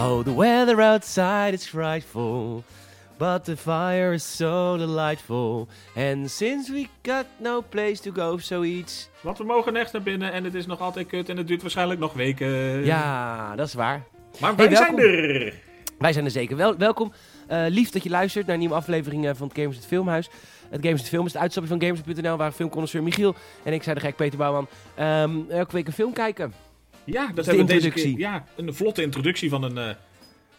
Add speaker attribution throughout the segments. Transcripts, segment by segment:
Speaker 1: Oh, the weather outside is frightful. But the fire is so delightful. And since we got no place to go, zoiets.
Speaker 2: Want we mogen echt naar binnen en het is nog altijd kut en het duurt waarschijnlijk nog weken.
Speaker 1: Ja, dat is waar.
Speaker 2: Maar wij
Speaker 1: Hey,
Speaker 2: zijn
Speaker 1: welkom.
Speaker 2: er!
Speaker 1: Wij zijn er zeker. Wel, welkom. Eh, lief dat je luistert naar een nieuwe aflevering eh, van het Gamers het Filmhuis. Het Gamers het Film is het uitstapje van Gamers.nl, waar filmconnoisseur Michiel en ik, zei de gek Peter Bouwman, ehm, elke week een film kijken.
Speaker 2: Ja, dat
Speaker 1: de
Speaker 2: hebben we deze
Speaker 1: introductie.
Speaker 2: keer. Ja, een vlotte introductie van een. eh, nou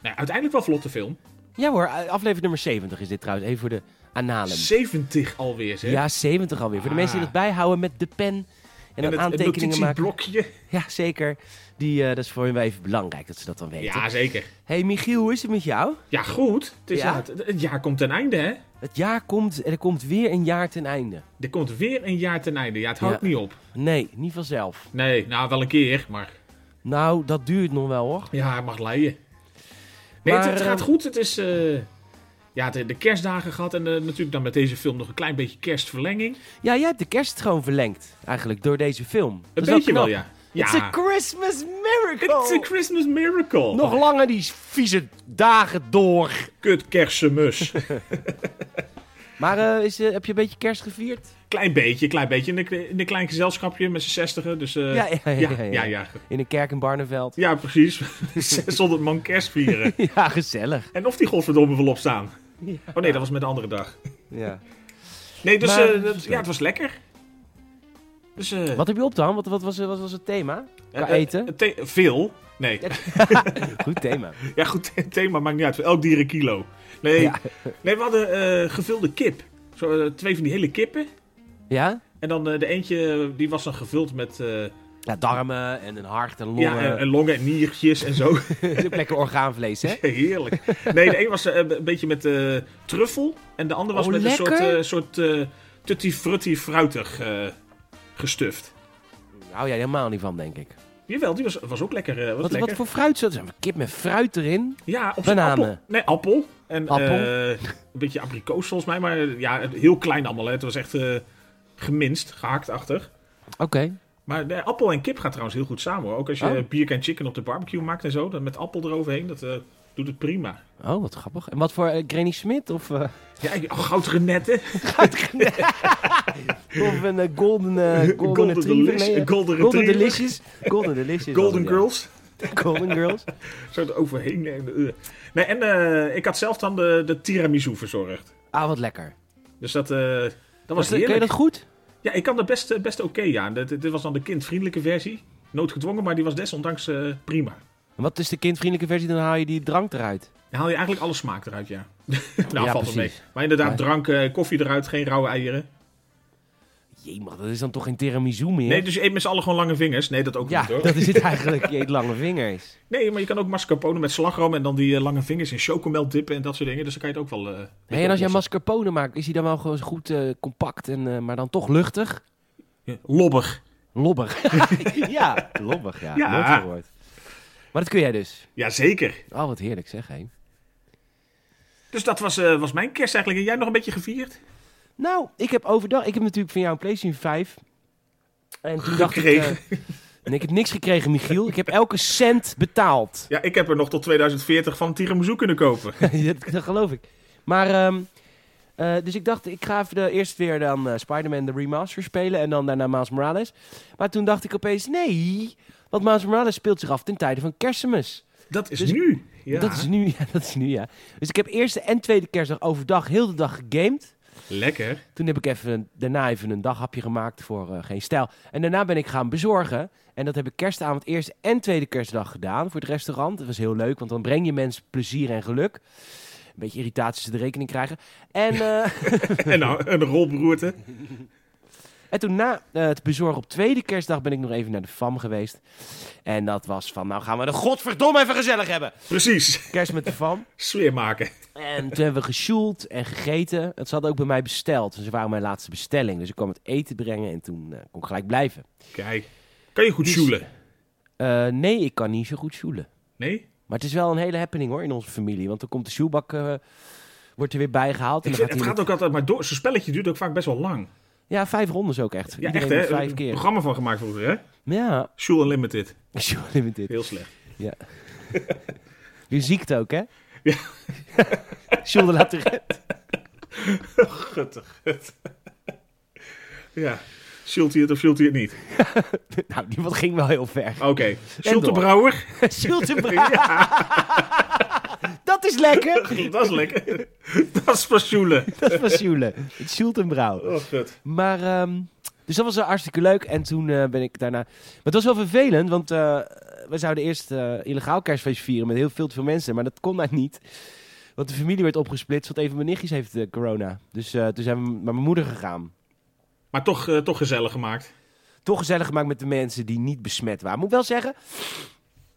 Speaker 2: ja, uiteindelijk wel vlotte film.
Speaker 1: Ja hoor, eh, aflevering nummer 70 is dit trouwens. Even voor de analen.
Speaker 2: 70 alweer, zeg.
Speaker 1: Ja, 70 alweer. Voor de
Speaker 2: Ah.
Speaker 1: mensen die dat bijhouden met de pen en,
Speaker 2: en
Speaker 1: dan
Speaker 2: het, het
Speaker 1: aantekeningen maken.
Speaker 2: notitieblokje.
Speaker 1: Ja, zeker. Die, eh, dat is voor hun wel even belangrijk dat ze dat dan weten.
Speaker 2: Ja, zeker.
Speaker 1: hey, Michiel, hoe is het met jou?
Speaker 2: Ja, goed. Het, is,
Speaker 1: Ja.
Speaker 2: ja, het, het jaar komt ten einde, hè?
Speaker 1: Het jaar komt, er komt weer een jaar ten einde.
Speaker 2: Er komt weer een jaar ten einde. Ja, het houdt
Speaker 1: Ja.
Speaker 2: niet op.
Speaker 1: Nee, niet vanzelf.
Speaker 2: Nee, nou wel een keer, maar
Speaker 1: Nou, dat duurt nog wel hoor.
Speaker 2: ja, het mag leien. Nee,
Speaker 1: Maar,
Speaker 2: het, het gaat
Speaker 1: eh,
Speaker 2: goed. Het is. eh, ja, de, de kerstdagen gehad en eh, natuurlijk dan met deze film nog een klein beetje kerstverlenging.
Speaker 1: Ja, jij hebt de kerst gewoon verlengd eigenlijk door deze film.
Speaker 2: Een beetje wel, ja. Ja,
Speaker 1: It's a Christmas miracle!
Speaker 2: It's a Christmas miracle. Oh,
Speaker 1: Nog langer die vieze dagen door.
Speaker 2: kut kerstmis.
Speaker 1: Maar eh, is, eh, heb je een beetje kerst gevierd?
Speaker 2: klein beetje, klein beetje. In een, in een klein gezelschapje met z'n zestigen. Dus, eh,
Speaker 1: ja, ja, ja,
Speaker 2: ja,
Speaker 1: ja, ja.
Speaker 2: ja, ja.
Speaker 1: In een kerk in Barneveld.
Speaker 2: Ja, precies. 600 man kerst vieren.
Speaker 1: Ja, gezellig.
Speaker 2: en of die godverdomme wil opstaan.
Speaker 1: Ja.
Speaker 2: Oh nee, dat was met de andere dag.
Speaker 1: Ja.
Speaker 2: Nee, dus
Speaker 1: Maar-
Speaker 2: eh, dat- ja, het was lekker. Dus, eh,
Speaker 1: Wat heb je op dan? Wat, wat, was, wat was het thema?
Speaker 2: eh,
Speaker 1: Qua
Speaker 2: eh,
Speaker 1: eten?
Speaker 2: het the- veel. Nee.
Speaker 1: Goed thema.
Speaker 2: Ja, goed, het thema maakt niet uit. Voor elk dier een kilo. Nee,
Speaker 1: Ja.
Speaker 2: nee we hadden eh, gevulde kip. Zo, eh, twee van die hele kippen.
Speaker 1: Ja?
Speaker 2: En dan eh, de eentje, die was dan gevuld met eh,
Speaker 1: Ja, darmen en een hart en longen.
Speaker 2: ja, en, en longen en niertjes en zo.
Speaker 1: Lekker orgaanvlees, hè?
Speaker 2: Heerlijk. Nee, de een was eh, een beetje met eh, truffel. En de ander was
Speaker 1: Oh,
Speaker 2: met
Speaker 1: lekker.
Speaker 2: een soort, eh soort eh tutti-frutti-fruitig eh, gestuft.
Speaker 1: Daar hou jij helemaal niet van, denk ik.
Speaker 2: Jawel, die was, was ook lekker. eh, was
Speaker 1: Wat,
Speaker 2: lekker.
Speaker 1: wat voor fruit zat er? Kip met fruit erin?
Speaker 2: Ja, op zijn
Speaker 1: Bananen.
Speaker 2: appel. Nee, appel. En
Speaker 1: Appel.
Speaker 2: eh, een beetje abrikoos volgens mij. Maar eh, ja, heel klein allemaal. Hè. Het was echt eh, geminst, gehaktachtig.
Speaker 1: Oké.
Speaker 2: Maar eh, appel en kip gaat trouwens heel goed samen hoor. Ook als je
Speaker 1: Oh.
Speaker 2: eh, bier en chicken op de barbecue maakt en zo. Dan met appel eroverheen, dat eh, doet het prima.
Speaker 1: Oh, wat grappig. En wat voor eh, Granny Smit? Of, eh,
Speaker 2: Ja, ik- oh, goudrenetten.
Speaker 1: of een eh, golden, eh, golden,
Speaker 2: Golden
Speaker 1: retriever?
Speaker 2: Delish-
Speaker 1: Nee, eh,
Speaker 2: Golden
Speaker 1: golden
Speaker 2: Retriever.
Speaker 1: Delicious. Golden Delicious.
Speaker 2: Golden
Speaker 1: was het, ja.
Speaker 2: Girls.
Speaker 1: Golden Girls.
Speaker 2: Zo eroverheen. Nee, eh. nee, en eh, ik had zelf dan de, de tiramisu verzorgd.
Speaker 1: Ah, wat lekker.
Speaker 2: Dus dat, eh, dat was,
Speaker 1: Was,
Speaker 2: heerlijk.
Speaker 1: kun je dat goed?
Speaker 2: Ja, ik kan dat best, eh, best oké ja. Dit, dit was dan de kindvriendelijke versie. Noodgedwongen, maar die was desondanks eh, prima.
Speaker 1: En wat is de kindvriendelijke versie? Dan haal je die drank eruit.
Speaker 2: Dan haal je eigenlijk alle smaak eruit, ja. nou,
Speaker 1: Ja,
Speaker 2: valt wel mee.
Speaker 1: precies.
Speaker 2: Maar inderdaad,
Speaker 1: Ja.
Speaker 2: drank, eh, koffie eruit, geen rauwe eieren.
Speaker 1: Jemig, dat is dan toch geen tiramisu meer?
Speaker 2: Nee, dus je eet met z'n allen gewoon lange vingers. Nee, dat ook
Speaker 1: ja,
Speaker 2: niet hoor.
Speaker 1: dat is het eigenlijk. Je eet lange vingers.
Speaker 2: Nee, maar je kan ook mascarpone met slagroom en dan die eh, lange vingers in chocomel dippen en dat soort dingen. Dus dan kan je het ook wel... eh, een beetje
Speaker 1: Hey, en als jij
Speaker 2: oplossen.
Speaker 1: mascarpone maakt, is hij dan wel gewoon zo goed eh, compact, en, eh, maar dan toch luchtig?
Speaker 2: Ja, Lobber.
Speaker 1: Lobbig. ja, lobbig, ja.
Speaker 2: Ja.
Speaker 1: Nooit gehoord. Maar dat kun jij dus.
Speaker 2: Jazeker.
Speaker 1: Oh, wat heerlijk zeg, hé.
Speaker 2: Dus dat was, eh, was mijn kerst eigenlijk. En jij nog een beetje gevierd?
Speaker 1: Nou, ik heb overdag... Ik heb natuurlijk van jou een PlayStation 5. En toen dacht ik...
Speaker 2: Gekregen.
Speaker 1: eh, nee, ik heb niks gekregen, Michiel. Ik heb elke cent betaald.
Speaker 2: Ja, ik heb er nog tot 2040 van een tiramisu kunnen kopen.
Speaker 1: dat, dat geloof ik. Maar, ehm, eh, dus ik dacht, ik ga even de, eerst weer dan eh, Spider-Man de remaster spelen en dan daarna Miles Morales. Maar toen dacht ik opeens, nee, want Miles Morales speelt zich af ten tijde van kerstmis.
Speaker 2: Dat is
Speaker 1: Dus-
Speaker 2: nu. Ja.
Speaker 1: Dat is nu, ja, dat is nu, ja. Dus ik heb eerste en tweede kerstdag overdag heel de dag gegamed.
Speaker 2: Lekker.
Speaker 1: Toen heb ik even, daarna even een daghapje gemaakt voor eh, geen stijl. En daarna ben ik gaan bezorgen. En dat heb ik kerstavond eerste en tweede kerstdag gedaan voor het restaurant. Dat was heel leuk, want dan breng je mensen plezier en geluk. Een beetje irritaties de rekening krijgen. En, eh,
Speaker 2: En nou, een rol beroerte.
Speaker 1: en toen na eh, het bezorgen op tweede kerstdag ben ik nog even naar de FAM geweest. En dat was van, nou gaan we de godverdomme even gezellig hebben.
Speaker 2: Precies.
Speaker 1: Kerst met de FAM.
Speaker 2: Sfeer maken.
Speaker 1: En toen hebben we gesjoeld en gegeten. Het ze hadden ook bij mij besteld. Dus ze waren mijn laatste bestelling. Dus ik kwam het eten brengen en toen eh, kon ik gelijk blijven.
Speaker 2: Kijk. Kan je goed
Speaker 1: Dus-
Speaker 2: joelen?
Speaker 1: Eh, nee, ik kan niet zo goed joelen.
Speaker 2: Nee?
Speaker 1: Maar het is wel een hele happening hoor in onze familie. Want dan komt de joelbak, eh, wordt er weer bijgehaald. En
Speaker 2: Ik
Speaker 1: dan
Speaker 2: vind,
Speaker 1: gaat
Speaker 2: het gaat
Speaker 1: hij
Speaker 2: ook altijd maar door. Zo'n spelletje duurt ook vaak best wel lang.
Speaker 1: met- Ja, vijf rondes ook echt.
Speaker 2: Ja,
Speaker 1: Iedereen
Speaker 2: echt hè?
Speaker 1: doet vijf
Speaker 2: een
Speaker 1: keer.
Speaker 2: programma van gemaakt vroeger hè?
Speaker 1: Ja,
Speaker 2: Joel Unlimited.
Speaker 1: Joel Limited.
Speaker 2: Heel slecht.
Speaker 1: Je ziekte ook, hè?
Speaker 2: Ja.
Speaker 1: Jules de La Tourette.
Speaker 2: Guttig. ja. Schult hij het of schult hij het niet?
Speaker 1: Nou, die wat ging wel heel ver.
Speaker 2: Oké. Schult de
Speaker 1: door.
Speaker 2: Brouwer.
Speaker 1: Jules de Bra. Dat is lekker.
Speaker 2: Dat is lekker. dat is pas Sjoelen.
Speaker 1: Dat was Jules. Het Jules en Brouw.
Speaker 2: Oh, gut.
Speaker 1: Maar, ehm, dus dat was wel hartstikke leuk. En toen eh, ben ik daarna... Maar het was wel vervelend, want eh, we zouden eerst eh, illegaal kerstfeest vieren met heel veel te veel mensen. Maar dat kon nou niet. Want de familie werd opgesplitst, want een van mijn nichtjes heeft eh, corona. Dus eh, toen zijn we naar mijn moeder gegaan.
Speaker 2: Maar toch, eh, toch gezellig gemaakt.
Speaker 1: Toch gezellig gemaakt met de mensen die niet besmet waren. Moet ik wel zeggen...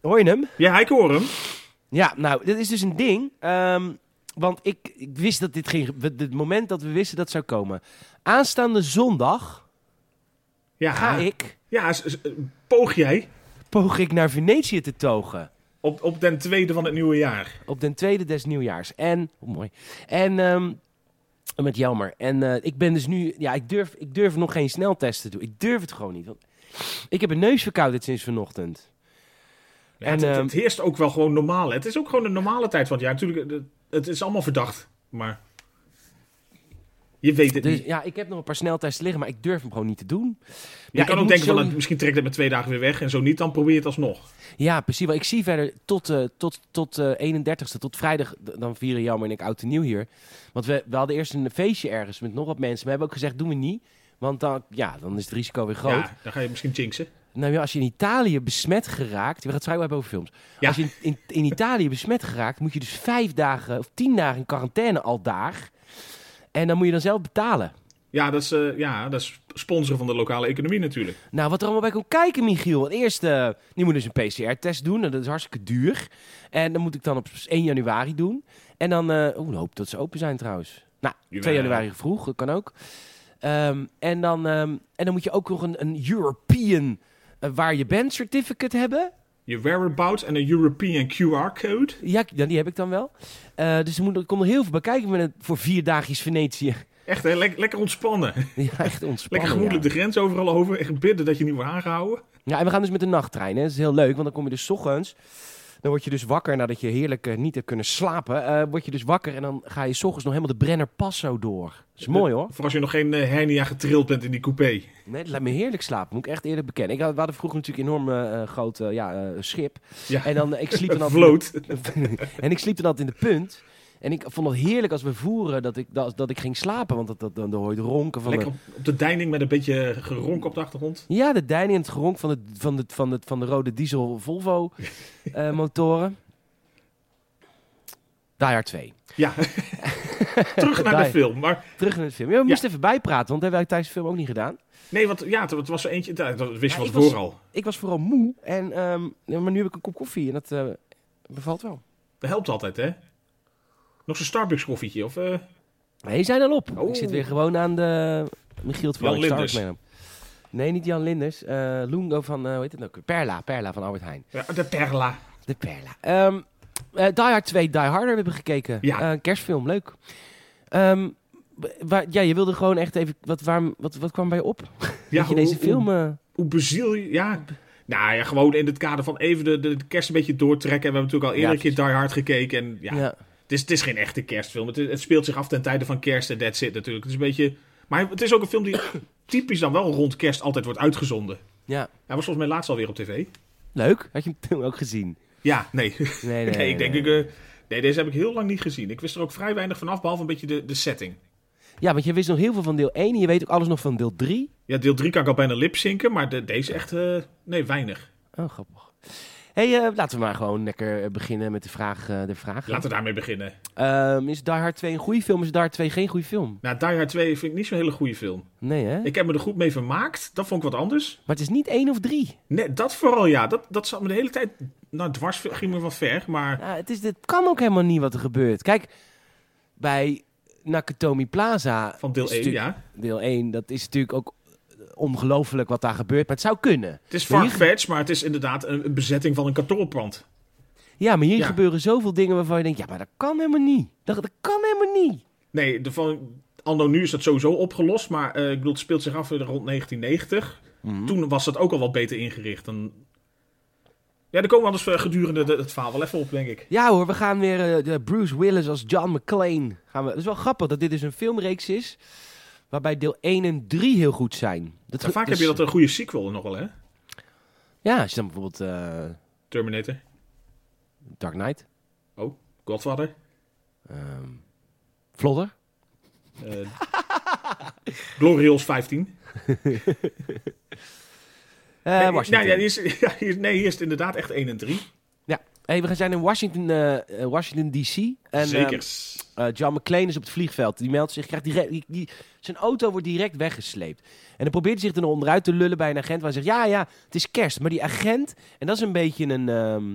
Speaker 1: Hoor je hem?
Speaker 2: Ja, ik hoor hem.
Speaker 1: Ja, nou, dit is dus een ding. ehm, want ik, ik wist dat dit ging. we- Het moment dat we wisten dat zou komen. Aanstaande zondag
Speaker 2: Ja,
Speaker 1: ga ik.
Speaker 2: ja s- s- poog jij
Speaker 1: Poog ik naar Venetië te togen.
Speaker 2: op, op den tweede van het nieuwe jaar.
Speaker 1: Op den tweede des nieuwjaars. En. Oh, mooi. En. ehm, met Jelmer. En eh, ik ben dus nu. Ja, ik durf, ik durf nog geen sneltest te doen. Ik durf het gewoon niet. Want ik heb een neusverkoudheid sinds vanochtend.
Speaker 2: Ja,
Speaker 1: En,
Speaker 2: het, het-
Speaker 1: ehm,
Speaker 2: het heerst ook wel gewoon normaal. hè. Het is ook gewoon een normale tijd van het jaar. Natuurlijk, het, het is allemaal verdacht. Maar je weet het
Speaker 1: Dus
Speaker 2: niet.
Speaker 1: ja, ik heb nog een paar sneltesten liggen. Maar ik durf hem gewoon niet te doen.
Speaker 2: Je
Speaker 1: ik
Speaker 2: kan ook
Speaker 1: moet
Speaker 2: denken, van,
Speaker 1: zo-
Speaker 2: nou, misschien trekt het met twee dagen weer weg. En zo niet, dan probeer je het alsnog.
Speaker 1: Ja, precies. Want ik zie verder tot, eh tot, tot eh, 31ste, tot vrijdag, d- dan vieren Jammer en ik oud en nieuw hier. Want we, we hadden eerst een feestje ergens met nog wat mensen. Maar we hebben ook gezegd, doen we niet. Want dan, ja, dan is het risico weer groot.
Speaker 2: Ja, dan ga je misschien jinxen.
Speaker 1: Nou ja, als je in Italië besmet geraakt... We gaan het vrijwel hebben over films.
Speaker 2: Ja.
Speaker 1: Als je in, in, in Italië besmet geraakt, moet je dus vijf dagen of tien dagen in quarantaine al daar. En dan moet je dan zelf betalen.
Speaker 2: Ja, dat is, eh, ja, dat is sponsoren van de lokale economie natuurlijk.
Speaker 1: Nou, wat er allemaal bij komt kijken, Michiel. Want Eerst, eh, die moet dus een PCR-test doen. En dat is hartstikke duur. En dat moet ik dan op 1 januari doen. En dan, eh oeh, dan hoop ik dat ze open zijn trouwens. Nou, 2
Speaker 2: Jawel.
Speaker 1: januari vroeg, dat kan ook. Ehm, en, dan, ehm, en dan moet je ook nog een, een European eh, waar je bent certificate hebben.
Speaker 2: Je whereabouts en een European QR-code.
Speaker 1: Ja, k- ja, die heb ik dan wel. Eh, dus er, moet, er komt nog heel veel bij kijken met een, voor vier dagjes Venetië.
Speaker 2: Echt, hè? Lek- lekker ontspannen.
Speaker 1: ja, echt ontspannen.
Speaker 2: Lekker gemoedelijk dus.
Speaker 1: ja.
Speaker 2: de grens overal over. Echt bidden dat je niet wordt aangehouden.
Speaker 1: Ja, en we gaan dus met de nachttrein. Hè. Dat is heel leuk, want dan kom je dus 's ochtends. Dan word je dus wakker nadat je heerlijk eh, niet hebt kunnen slapen. eh, word je dus wakker en dan ga je 's ochtends nog helemaal de Brenner Passo door. Dat is mooi hoor.
Speaker 2: Voor als je nog geen eh, hernia getrild bent in die coupé.
Speaker 1: Nee, dat laat me heerlijk slapen, moet ik echt eerlijk bekennen. Ik had, we hadden vroeger natuurlijk een enorm eh, eh, groot eh, ja, eh, schip.
Speaker 2: Ja,
Speaker 1: En dan, eh, ik sliep dan altijd in de-
Speaker 2: Vloot.
Speaker 1: en ik sliep dan altijd in de punt. En ik vond het heerlijk als we voeren dat ik, dat, dat ik ging slapen. Want dat, dat, dan hoor je het ronken van de-
Speaker 2: Lekker op, op de deining met een beetje geronk op de achtergrond.
Speaker 1: Ja, de deining en het geronk van de, van de, van de, van de rode diesel Volvo eh, motoren. Die Hard 2.
Speaker 2: Ja. Terug naar de
Speaker 1: Daar.
Speaker 2: film. Maar
Speaker 1: Terug naar de film. Ja, we moesten even bijpraten, want dat hebben wij tijdens de film ook niet gedaan.
Speaker 2: nee, want ja, het- het was er eentje. Dat dat wist je
Speaker 1: Ja,
Speaker 2: van
Speaker 1: ik was-
Speaker 2: tevoren al.
Speaker 1: Ik was vooral moe, en, ehm, ja, maar nu heb ik een kop koffie en dat eh, bevalt wel.
Speaker 2: Dat helpt altijd, hè? Nog zo'n Starbucks koffietje of... eh,
Speaker 1: Nee, zijn al op.
Speaker 2: Oh.
Speaker 1: Ik zit weer gewoon aan de Michiel van
Speaker 2: Jan Linders.
Speaker 1: Nee, niet Jan Linders. eh Lungo van, eh, hoe heet het nou? ook weer? Perla, Perla van Albert Heijn.
Speaker 2: ja, de Perla.
Speaker 1: De Perla. Ehm eh, die Hard 2, Die Harder hebben we gekeken.
Speaker 2: Ja.
Speaker 1: Eh, een kerstfilm, leuk. Ehm, wa- waar, ja, je wilde gewoon echt even... Wat, waarom, wat, wat kwam bij je op?
Speaker 2: Ja,
Speaker 1: dat je deze
Speaker 2: hoe-
Speaker 1: film... eh,
Speaker 2: Hoe beziel je... Ja. Nou ja, gewoon in het kader van even de, de kerst een beetje doortrekken. En we hebben natuurlijk al eerder
Speaker 1: Ja,
Speaker 2: een keer Die Hard gekeken. En ja,
Speaker 1: ja.
Speaker 2: Het is, het is geen echte kerstfilm. Het, het speelt zich af ten tijde van kerst en that's it natuurlijk. Het is een beetje... Maar het is ook een film die typisch dan wel rond kerst altijd wordt uitgezonden.
Speaker 1: ja.
Speaker 2: Hij was volgens mij laatst alweer op tv.
Speaker 1: Leuk. Had je hem toen ook gezien?
Speaker 2: Ja, nee. Nee,
Speaker 1: Nee,
Speaker 2: ik denk... Ik, eh, nee, deze heb ik heel lang niet gezien. Ik wist er ook vrij weinig van af, behalve een beetje de, de setting.
Speaker 1: Ja, want je wist nog heel veel van deel 1 en je weet ook alles nog van deel 3.
Speaker 2: Ja, deel 3 kan ik al bijna lipzinken, maar de, deze echt... eh, nee, weinig.
Speaker 1: Oh, grappig. hey, eh, laten we maar gewoon lekker eh, beginnen met de vraag. eh, de vraag.
Speaker 2: Laten we daarmee beginnen.
Speaker 1: Ehm, is Die Hard 2 een goede film? Is Die Hard 2 geen goede film?
Speaker 2: Nou, Die Hard 2 vind ik niet zo'n hele goede film.
Speaker 1: Nee, hè?
Speaker 2: Ik heb me er goed mee vermaakt. Dat vond ik wat anders.
Speaker 1: Maar het is niet 1 of 3.
Speaker 2: Nee, dat vooral ja. Dat, dat zat me de hele tijd... Nou, dwars ging me wat ver, maar...
Speaker 1: Ja, het, is, het kan ook helemaal niet wat er gebeurt. Kijk, bij Nakatomi Plaza...
Speaker 2: Van deel
Speaker 1: is
Speaker 2: 1,
Speaker 1: natuurlijk-
Speaker 2: ja.
Speaker 1: Deel 1, dat is natuurlijk ook eh, ongelooflijk wat daar gebeurt. Maar het zou kunnen.
Speaker 2: Het is
Speaker 1: Maar hier-
Speaker 2: farfetch, maar het is inderdaad een, een bezetting van een kantoorpand.
Speaker 1: Ja, maar hier
Speaker 2: Ja.
Speaker 1: gebeuren zoveel dingen waarvan je denkt... Ja, maar dat kan helemaal niet. Dat, dat kan helemaal niet.
Speaker 2: Nee, de van, anno nu is dat sowieso opgelost, maar eh, ik bedoel, het speelt zich Mhm.
Speaker 1: Hm.
Speaker 2: af eh, rond 1990. Toen was dat ook al wat beter ingericht. Dan, ja, Ja, daar komen we anders eh, gedurende de- het verhaal wel even op, denk ik.
Speaker 1: Ja hoor, we gaan weer eh, de Bruce Willis als John McClane. Gaan we... Het is wel grappig dat dit dus een filmreeks is... waarbij deel 1 en 3 heel goed zijn. Dat
Speaker 2: En vaak
Speaker 1: dus-
Speaker 2: heb je dat een goede sequel nog wel, hè?
Speaker 1: Ja, als je dan bijvoorbeeld eh,
Speaker 2: Terminator,
Speaker 1: Dark Knight,
Speaker 2: Godfather.
Speaker 1: ehm Vlodder.
Speaker 2: eh Glorious 15.
Speaker 1: eh,
Speaker 2: nee,
Speaker 1: Washington.
Speaker 2: nou ja, hier is, ja, hier- nee, hier is het inderdaad echt 1 en 3.
Speaker 1: Hey, we zijn in Washington, eh, eh, Washington D.C. En,
Speaker 2: Zeker.
Speaker 1: eh, eh, John McClane is op het vliegveld. Die meldt zich, krijgt direct, die, die- zijn auto wordt direct weggesleept. En dan probeert hij zich er onderuit te lullen bij een agent. Waar hij zegt, ja, ja, het is kerst. Maar die agent, en dat is een beetje een, ehm,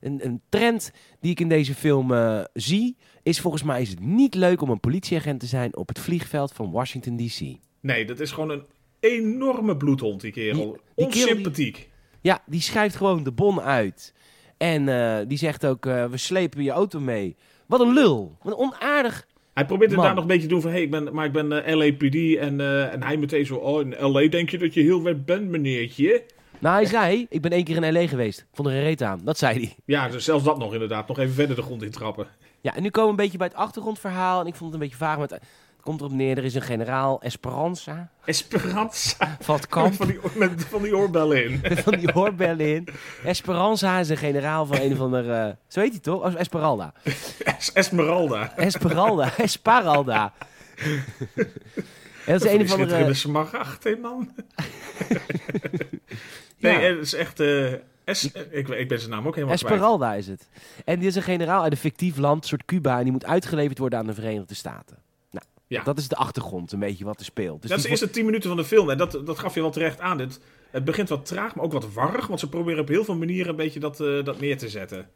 Speaker 1: een, een trend die ik in deze film eh, zie... is volgens mij is het niet leuk om een politieagent te zijn op het vliegveld van Washington D.C.
Speaker 2: nee, dat is gewoon een enorme bloedhond, die kerel.
Speaker 1: Die- die kerel die-
Speaker 2: Onsympathiek.
Speaker 1: Ja, die schrijft gewoon de bon uit. En eh, die zegt ook, eh, we slepen je auto mee. Wat een lul. Wat een onaardig.
Speaker 2: Hij probeert het
Speaker 1: Man.
Speaker 2: daar nog een beetje te doen van... Hey, ik ben, maar ik ben eh, LAPD en, eh, en hij meteen zo... Oh, in LA denk je dat je heel wet bent, meneertje?
Speaker 1: Nou, hij zei, ik ben één keer in L.A. geweest. Ik Vond er een reet aan. Dat zei hij.
Speaker 2: Ja, dus zelfs dat nog inderdaad. Nog even verder de grond intrappen.
Speaker 1: Ja, en nu komen we een beetje bij het achtergrondverhaal. En ik vond het een beetje vaag. Maar het het komt erop neer, er is een generaal Esperanza
Speaker 2: Esperanza.
Speaker 1: van het kamp.
Speaker 2: Met van, die, met van die oorbellen in.
Speaker 1: van die hoorbellen in. Esperanza is een generaal van een of ander... eh, zo heet hij toch? Oh, Esmeralda.
Speaker 2: Es- Esmeralda.
Speaker 1: Esmeralda. Esparalda. en dat is
Speaker 2: Van
Speaker 1: een of
Speaker 2: die
Speaker 1: andere...
Speaker 2: schitterende smaragd, hè, man?
Speaker 1: Ja.
Speaker 2: Nee, het is echt... eh, es, ik, ik ben zijn naam ook helemaal kwijt.
Speaker 1: Esmeralda is het. En die is een generaal uit een fictief land, een soort Cuba, en die moet uitgeleverd worden aan de Verenigde Staten. Nou,
Speaker 2: Ja.
Speaker 1: dat is de achtergrond, een beetje wat er speelt. Dus
Speaker 2: dat is
Speaker 1: die
Speaker 2: de eerste 10 minuten van de film. En dat, dat gaf je wel terecht aan. Dit, het begint wat traag, maar ook wat warrig. Want ze proberen op heel veel manieren een beetje dat, eh, dat neer te zetten.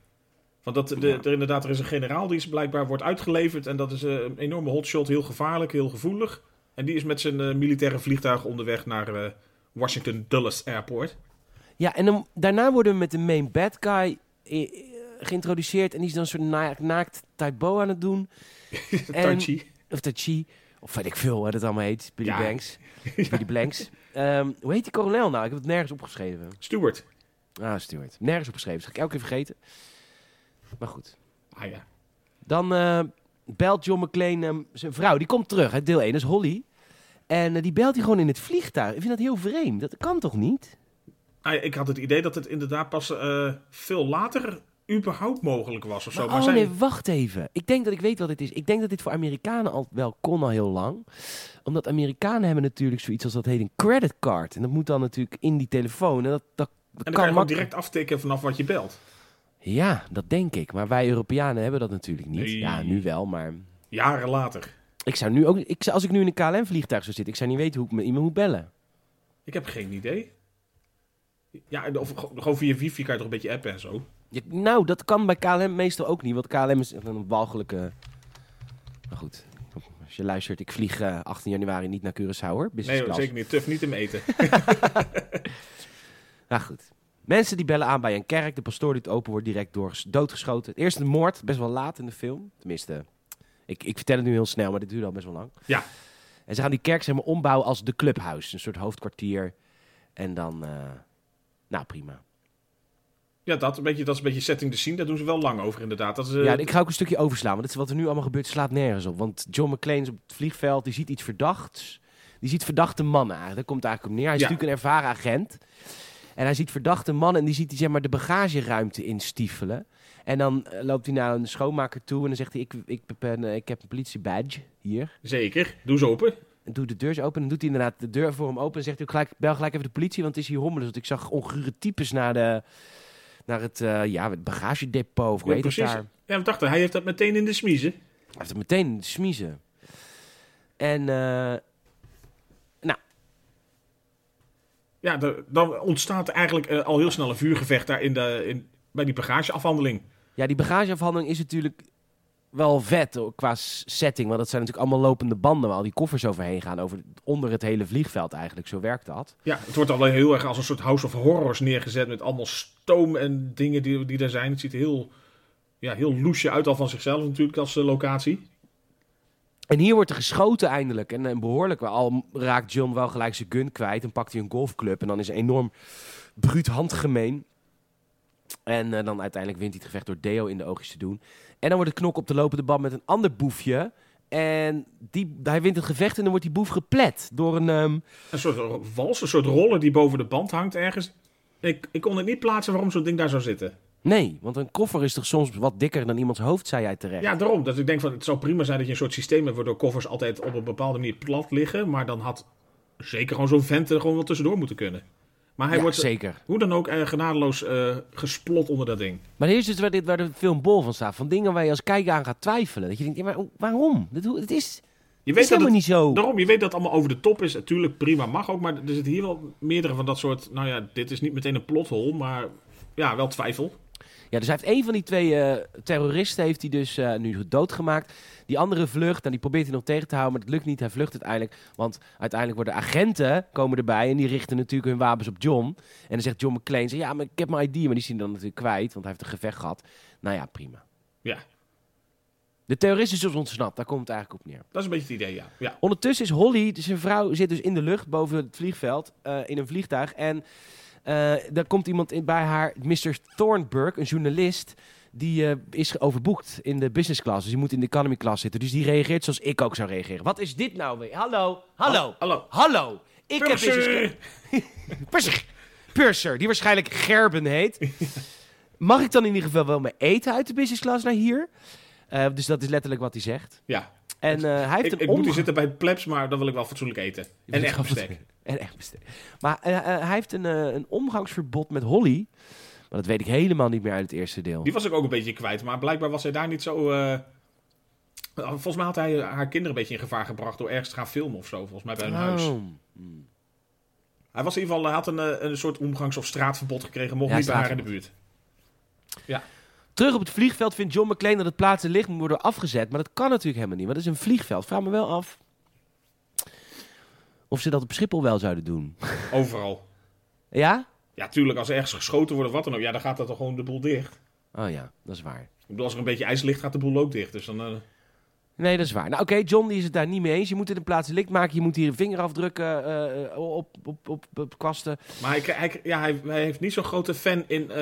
Speaker 2: Want dat, de,
Speaker 1: Ja.
Speaker 2: er, inderdaad, er is een generaal die is blijkbaar wordt uitgeleverd. En dat is eh, een enorme hotshot. Heel gevaarlijk, heel gevoelig. En die is met zijn eh, militaire vliegtuig onderweg naar eh, Washington Dulles Airport.
Speaker 1: vo- ja, en dan, daarna worden we met de main bad guy eh, eh, geïntroduceerd en die is dan een soort na- naakt Taibo aan het doen.
Speaker 2: Tai Chi.
Speaker 1: Of Tai Chi, of weet ik veel wat het allemaal heet, Billy
Speaker 2: Ja.
Speaker 1: Banks. Billy Blanks. Ehm, hoe heet die kolonel nou? Ik heb het nergens opgeschreven.
Speaker 2: Stewart.
Speaker 1: Ah, Stuart. Nergens opgeschreven, dat ga ik elke keer vergeten. Maar goed.
Speaker 2: Ah ja.
Speaker 1: Dan eh, belt John McClane ehm, zijn vrouw. Die komt terug uit deel 1, dat is Holly. En eh, die belt hij gewoon in het vliegtuig. Ik vind dat heel vreemd. Dat kan toch niet?
Speaker 2: Ah ja, ik had het idee dat het inderdaad pas eh, veel later überhaupt mogelijk was of zo.
Speaker 1: Maar,
Speaker 2: Maar,
Speaker 1: oh
Speaker 2: zij-
Speaker 1: nee, wacht even. Ik denk dat ik weet wat dit is. Ik denk dat dit voor Amerikanen al wel kon al heel lang. Omdat Amerikanen hebben natuurlijk zoiets als dat heet een creditcard. En dat moet dan natuurlijk in die telefoon. En dat, dat, dat
Speaker 2: en dan
Speaker 1: kan
Speaker 2: kan je gewoon
Speaker 1: makkelijk.
Speaker 2: direct aftikken vanaf wat je belt.
Speaker 1: Ja, dat denk ik. Maar wij Europeanen hebben dat natuurlijk niet.
Speaker 2: Nee.
Speaker 1: Ja, nu wel, maar...
Speaker 2: Jaren later.
Speaker 1: Ik zou nu ook... Ik zou, als ik nu in een KLM-vliegtuig zou zitten, ik zou niet weten hoe ik me iemand moet bellen.
Speaker 2: Ik heb geen idee. Ja, en of, gewoon via wifi kan je toch een beetje appen en zo.
Speaker 1: Ja, nou, dat kan bij KLM meestal ook niet, want KLM is echt een walgelijke... Maar goed, als je luistert, ik vlieg eh, 18 januari niet naar Curaçao hoor, business
Speaker 2: Nee, hoor,
Speaker 1: class.
Speaker 2: zeker niet. Tuf niet hem eten.
Speaker 1: Nou goed, mensen die bellen aan bij een kerk, de pastoor die het open wordt direct door doodgeschoten. Eerst een moord, best wel laat in de film, tenminste... Ik, ik vertel het nu heel snel, maar dit duurde al best wel lang.
Speaker 2: Ja.
Speaker 1: En ze gaan die kerk zeg maar ombouwen als de clubhuis, een soort hoofdkwartier. En dan, eh, nou prima.
Speaker 2: Ja, dat, een beetje, dat is een beetje setting the scene. Daar doen ze wel lang over inderdaad. Dat is, eh,
Speaker 1: Ja, ik ga ook een stukje overslaan, want dit is wat er nu allemaal gebeurt slaat nergens op. Want John McClane is op het vliegveld, die ziet iets verdachts. Die ziet verdachte mannen eigenlijk, daar komt het eigenlijk op neer. Hij is
Speaker 2: Ja.
Speaker 1: natuurlijk een ervaren agent. En hij ziet verdachte mannen en die ziet hij zeg maar de bagageruimte instiefelen. En dan eh, loopt hij naar een schoonmaker toe en dan zegt hij, ik, ik, ben, eh, ik heb een politiebadge hier.
Speaker 2: Zeker. Doe ze open.
Speaker 1: En doet de deur eens open en dan doet hij inderdaad de deur voor hem open. En zegt hij, ook gelijk, bel gelijk even de politie, want het is hier hommelens. Want ik zag ongure types naar, de, naar het, eh, ja, het bagagedepot of hoe
Speaker 2: Ja,
Speaker 1: heet het
Speaker 2: precies.
Speaker 1: daar.
Speaker 2: Ja, we dachten, hij heeft dat meteen in de smiezen.
Speaker 1: Hij heeft het meteen in de smiezen. En eh,
Speaker 2: Ja, de- dan ontstaat eigenlijk eh, al heel snel een vuurgevecht daar in de, in, bij die bagageafhandeling.
Speaker 1: ja, die bagageafhandeling is natuurlijk wel vet hoor, qua s- setting. Want dat zijn natuurlijk allemaal lopende banden waar al die koffers overheen gaan. Over, onder het hele vliegveld eigenlijk, zo werkt dat.
Speaker 2: Ja, het wordt al heel erg als een soort House of Horrors neergezet met allemaal stoom en dingen die, die er zijn. Het ziet er heel, ja, heel loesje uit al van zichzelf natuurlijk als eh, locatie.
Speaker 1: En hier wordt er geschoten eindelijk. En, en behoorlijk wel. Al raakt John wel gelijk zijn gun kwijt. En pakt hij een golfclub. En dan is er enorm bruut handgemeen. En eh, dan uiteindelijk wint hij het gevecht door Deo in de oogjes te doen. En dan wordt het knok op de lopende band met een ander boefje. En die, hij wint het gevecht en dan wordt die boef geplet door een... ehm,
Speaker 2: Een soort wals, een soort roller die boven de band hangt ergens. Ik, ik kon het niet plaatsen waarom zo'n ding daar zou zitten.
Speaker 1: Nee, want een koffer is toch soms wat dikker dan iemands hoofd, zei jij terecht.
Speaker 2: Ja, daarom. Dat ik denk van het zou prima zijn dat je een soort systeem hebt waardoor koffers altijd op een bepaalde manier plat liggen. Maar dan had zeker gewoon zo'n vent er gewoon wel tussendoor moeten kunnen. Maar hij
Speaker 1: Ja,
Speaker 2: wordt
Speaker 1: zeker.
Speaker 2: hoe dan ook eh, genadeloos eh, gesplot onder dat ding.
Speaker 1: Maar hier is dus waar, dit, waar de film bol van staat. Van dingen waar je als kijker aan gaat twijfelen. Dat je denkt, ja, maar hoe- waarom? Dit, hoe- dit is, dit
Speaker 2: Je
Speaker 1: is
Speaker 2: weet dat
Speaker 1: helemaal
Speaker 2: het,
Speaker 1: niet zo.
Speaker 2: daarom, je weet dat het allemaal over de top is. Natuurlijk prima, mag ook. Maar er zitten hier wel meerdere van dat soort. Nou ja, dit is niet meteen een plothol, maar ja, wel twijfel.
Speaker 1: Ja, dus hij heeft een van die twee eh, terroristen heeft hij dus eh, nu doodgemaakt. Die andere vlucht en die probeert hij nog tegen te houden, maar dat lukt niet. Hij vlucht uiteindelijk, want uiteindelijk worden agenten komen erbij en die richten natuurlijk hun wapens op John. En dan zegt John McClane, zegt, ja, maar ik heb mijn ID, maar die zien dan natuurlijk kwijt, want hij heeft een gevecht gehad. Nou ja, prima.
Speaker 2: Ja,
Speaker 1: De terrorist is dus ontsnapt, daar komt het eigenlijk op neer.
Speaker 2: dat is een beetje het idee, ja. ja.
Speaker 1: Ondertussen is Holly, dus zijn vrouw, zit dus in de lucht boven het vliegveld eh, in een vliegtuig. En eh, daar komt iemand in bij haar, Mr. Thornburg, een journalist. Die eh, is overboekt in de business class. Dus die moet in de economy class zitten. Dus die reageert zoals ik ook zou reageren. Wat is dit nou weer? Hallo, hallo,
Speaker 2: Hallo.
Speaker 1: hallo. Ik heb
Speaker 2: Purser!
Speaker 1: business class. Purser. Purser, die waarschijnlijk Gerben heet. Mag ik dan in ieder geval wel mijn eten uit de business class naar hier? Eh, dus dat is letterlijk wat hij zegt.
Speaker 2: Ja,
Speaker 1: En eh, hij heeft een
Speaker 2: ik, ik moet
Speaker 1: omgang-
Speaker 2: hier zitten bij het plebs, maar dan wil ik wel fatsoenlijk eten.
Speaker 1: Je
Speaker 2: En
Speaker 1: moet
Speaker 2: echt
Speaker 1: gewoon
Speaker 2: bestek.
Speaker 1: wat- En echt bestek. Maar eh, eh, hij heeft een, eh, een omgangsverbod met Holly. Maar dat weet ik helemaal niet meer uit het eerste deel.
Speaker 2: Die was ik ook een beetje kwijt, maar blijkbaar was hij daar niet zo... eh, Volgens mij had hij haar kinderen een beetje in gevaar gebracht door ergens te gaan filmen of zo, volgens mij bij hun huis.
Speaker 1: Oh.
Speaker 2: Hij was in ieder geval, hij had een, eh, een soort omgangs- of straatverbod gekregen, mocht
Speaker 1: Ja,
Speaker 2: niet bij haar in de buurt.
Speaker 1: Terug op het vliegveld vindt John McClane dat het plaatsen licht moet worden afgezet. Maar dat kan natuurlijk helemaal niet, want dat is een vliegveld. Vraag me wel af of ze dat op Schiphol wel zouden doen.
Speaker 2: Overal.
Speaker 1: Ja?
Speaker 2: Ja, tuurlijk, als er ergens geschoten wordt of wat dan ook, ja, dan gaat dat toch gewoon de boel dicht.
Speaker 1: Oh ja, dat is waar.
Speaker 2: Ik bedoel, als er een beetje ijs ligt, gaat de boel ook dicht. Dus dan, eh,
Speaker 1: Nee, dat is waar. Nou, oké, John die is het daar niet mee eens. Je moet dit een plaats licht maken. Je moet hier een vingerafdrukken eh, eh, op, op, op, op kwasten.
Speaker 2: Maar hij, hij, ja, hij, hij heeft niet zo'n grote fan in eh,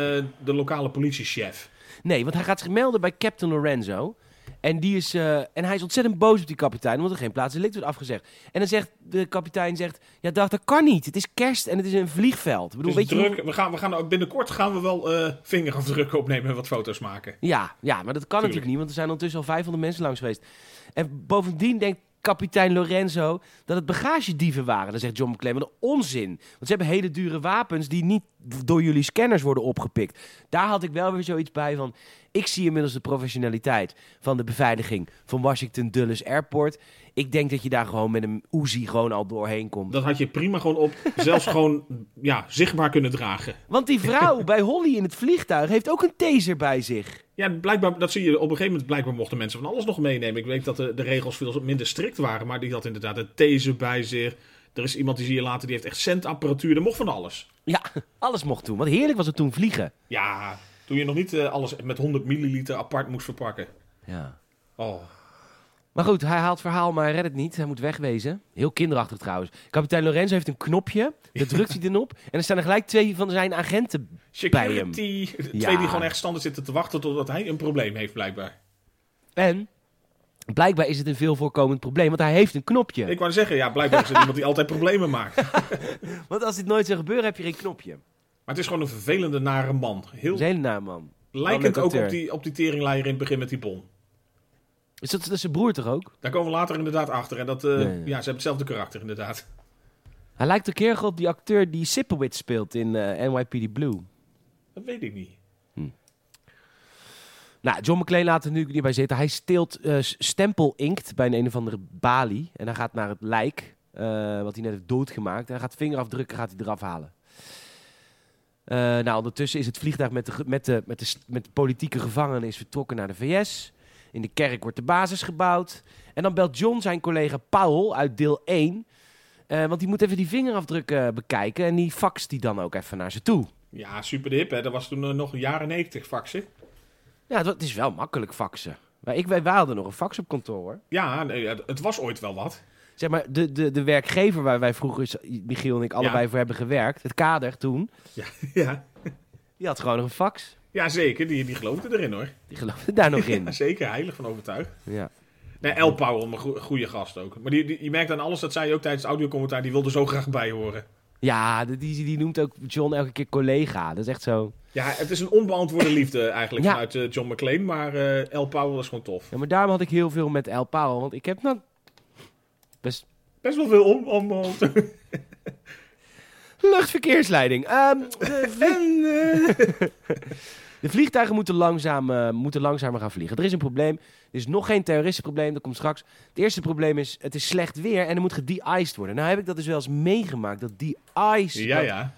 Speaker 2: de lokale politiechef.
Speaker 1: Nee, want hij gaat zich melden bij Captain Lorenzo. En, die is, eh, en hij is ontzettend boos op die kapitein, omdat er geen plaatselijk wordt afgezegd. En dan zegt de kapitein, zegt, ja dag, dat kan niet. Het is kerst en het is een vliegveld. Ik bedoel,
Speaker 2: Dus weet
Speaker 1: weet je
Speaker 2: druk,
Speaker 1: hoe-
Speaker 2: we gaan, we gaan ook binnenkort gaan we wel eh, vingerafdrukken opnemen en wat foto's maken.
Speaker 1: Ja, ja, maar dat kan natuurlijk niet, want er zijn ondertussen al 500 mensen langs geweest. En bovendien denkt kapitein Lorenzo dat het bagagedieven waren. Dan zegt John McClane, wat een onzin. Want ze hebben hele dure wapens die niet door jullie scanners worden opgepikt. Daar had ik wel weer zoiets bij van... Ik zie inmiddels de professionaliteit van de beveiliging van Washington Dulles Airport. Ik denk dat je daar gewoon met een Uzi gewoon al doorheen komt.
Speaker 2: Dat had je prima gewoon op, zelfs gewoon ja, zichtbaar kunnen dragen.
Speaker 1: Want die vrouw bij Holly in het vliegtuig heeft ook een taser bij zich.
Speaker 2: Ja, blijkbaar, dat zie je op een gegeven moment. Blijkbaar mochten mensen van alles nog meenemen. Ik weet dat de, de regels veel minder strikt waren, maar die had inderdaad een taser bij zich. Er is iemand die zie je later, die heeft echt centapparatuur. Er mocht van alles.
Speaker 1: Ja, alles mocht toen. Want heerlijk was het toen vliegen.
Speaker 2: Ja, toen je nog niet eh, alles met 100 milliliter apart moest verpakken.
Speaker 1: Ja.
Speaker 2: Oh,
Speaker 1: Maar goed, hij haalt verhaal, maar hij redt het niet. Hij moet wegwezen. Heel kinderachtig trouwens. Kapitein Lorenzo heeft een knopje. Daar drukt hij dan op. En er staan er gelijk twee van zijn agenten. Bij hem.
Speaker 2: Security. Twee
Speaker 1: Ja.
Speaker 2: die gewoon echt standaard zitten te wachten totdat hij een probleem heeft, blijkbaar.
Speaker 1: En blijkbaar is het een veel voorkomend probleem, want hij heeft een knopje.
Speaker 2: Ik wou zeggen, ja, blijkbaar is er iemand die altijd problemen maakt. Maar
Speaker 1: Want als dit nooit zou gebeuren, heb je geen knopje.
Speaker 2: het is gewoon een vervelende, nare man.
Speaker 1: Dat
Speaker 2: Heel
Speaker 1: is een hele naam, man.
Speaker 2: lijkend
Speaker 1: wel
Speaker 2: ook
Speaker 1: Oh, leuk
Speaker 2: op
Speaker 1: acteur.
Speaker 2: die, op die teringleier in het begin met die bon.
Speaker 1: Is dat, dat is zijn broer toch ook?
Speaker 2: Daar komen we later inderdaad achter. En dat, eh,
Speaker 1: Ja, ja.
Speaker 2: ja, ze hebben hetzelfde karakter, inderdaad.
Speaker 1: Hij lijkt een keer op die acteur die Sipowicz speelt in eh, NYPD Blue.
Speaker 2: Dat weet ik niet.
Speaker 1: Nou, John McClane laat er nu niet bij zitten. Hij steelt eh, s- stempel inkt bij een een of andere balie. En hij gaat naar het lijk, eh, wat hij net heeft doodgemaakt. En hij gaat vingerafdrukken, gaat hij eraf halen. Eh, nou, ondertussen is het vliegtuig met de, ge- met, de, met, de, s- met de politieke gevangenen is vertrokken naar de VS. In de kerk wordt de basis gebouwd. En dan belt John zijn collega Powell uit deel 1. eh, want die moet even die vingerafdrukken eh, bekijken. En die faxt die dan ook even naar ze toe.
Speaker 2: Ja, super de hip, hè. Dat was toen eh, nog jaren 90 faxen.
Speaker 1: Ja, dat is wel makkelijk faxen. Maar ik, wij, wij hadden nog een fax op kantoor, hoor.
Speaker 2: Ja, nee, het het was ooit wel wat.
Speaker 1: Zeg maar, de, de, de werkgever waar wij vroeger, Michiel en ik, allebei voor hebben gewerkt, het kader toen,
Speaker 2: Ja,
Speaker 1: die had gewoon nog een fax.
Speaker 2: Ja, zeker. Die, die geloofde erin hoor.
Speaker 1: Die geloofde daar nog in.
Speaker 2: Ja, zeker. Heilig van overtuigd.
Speaker 1: Ja.
Speaker 2: Nee, El Powell, een goe- goede gast ook. Maar die, die, je merkt aan alles, dat zei je ook tijdens het audiocommentaar, die wilde zo graag bij horen.
Speaker 1: Ja, die, die die noemt ook John elke keer collega. Dat is echt zo.
Speaker 2: Ja, het is een onbeantwoorde liefde eigenlijk
Speaker 1: Ja.
Speaker 2: vanuit eh, John McClane, maar eh El Powell is gewoon tof.
Speaker 1: Ja, maar daarom had ik heel veel met El Powell. Want ik heb nou... Best
Speaker 2: Best wel veel om... om, om-
Speaker 1: Luchtverkeersleiding. Ehm, de, vlie- de vliegtuigen moeten, langzaam, eh, moeten langzamer gaan vliegen. Er is een probleem. Er is nog geen terroristenprobleem. Dat komt straks. Het eerste probleem is, het is slecht weer en er moet gede-iced worden. Nou heb ik dat dus wel eens meegemaakt. Dat de-ice,
Speaker 2: ja,
Speaker 1: dat,
Speaker 2: ja.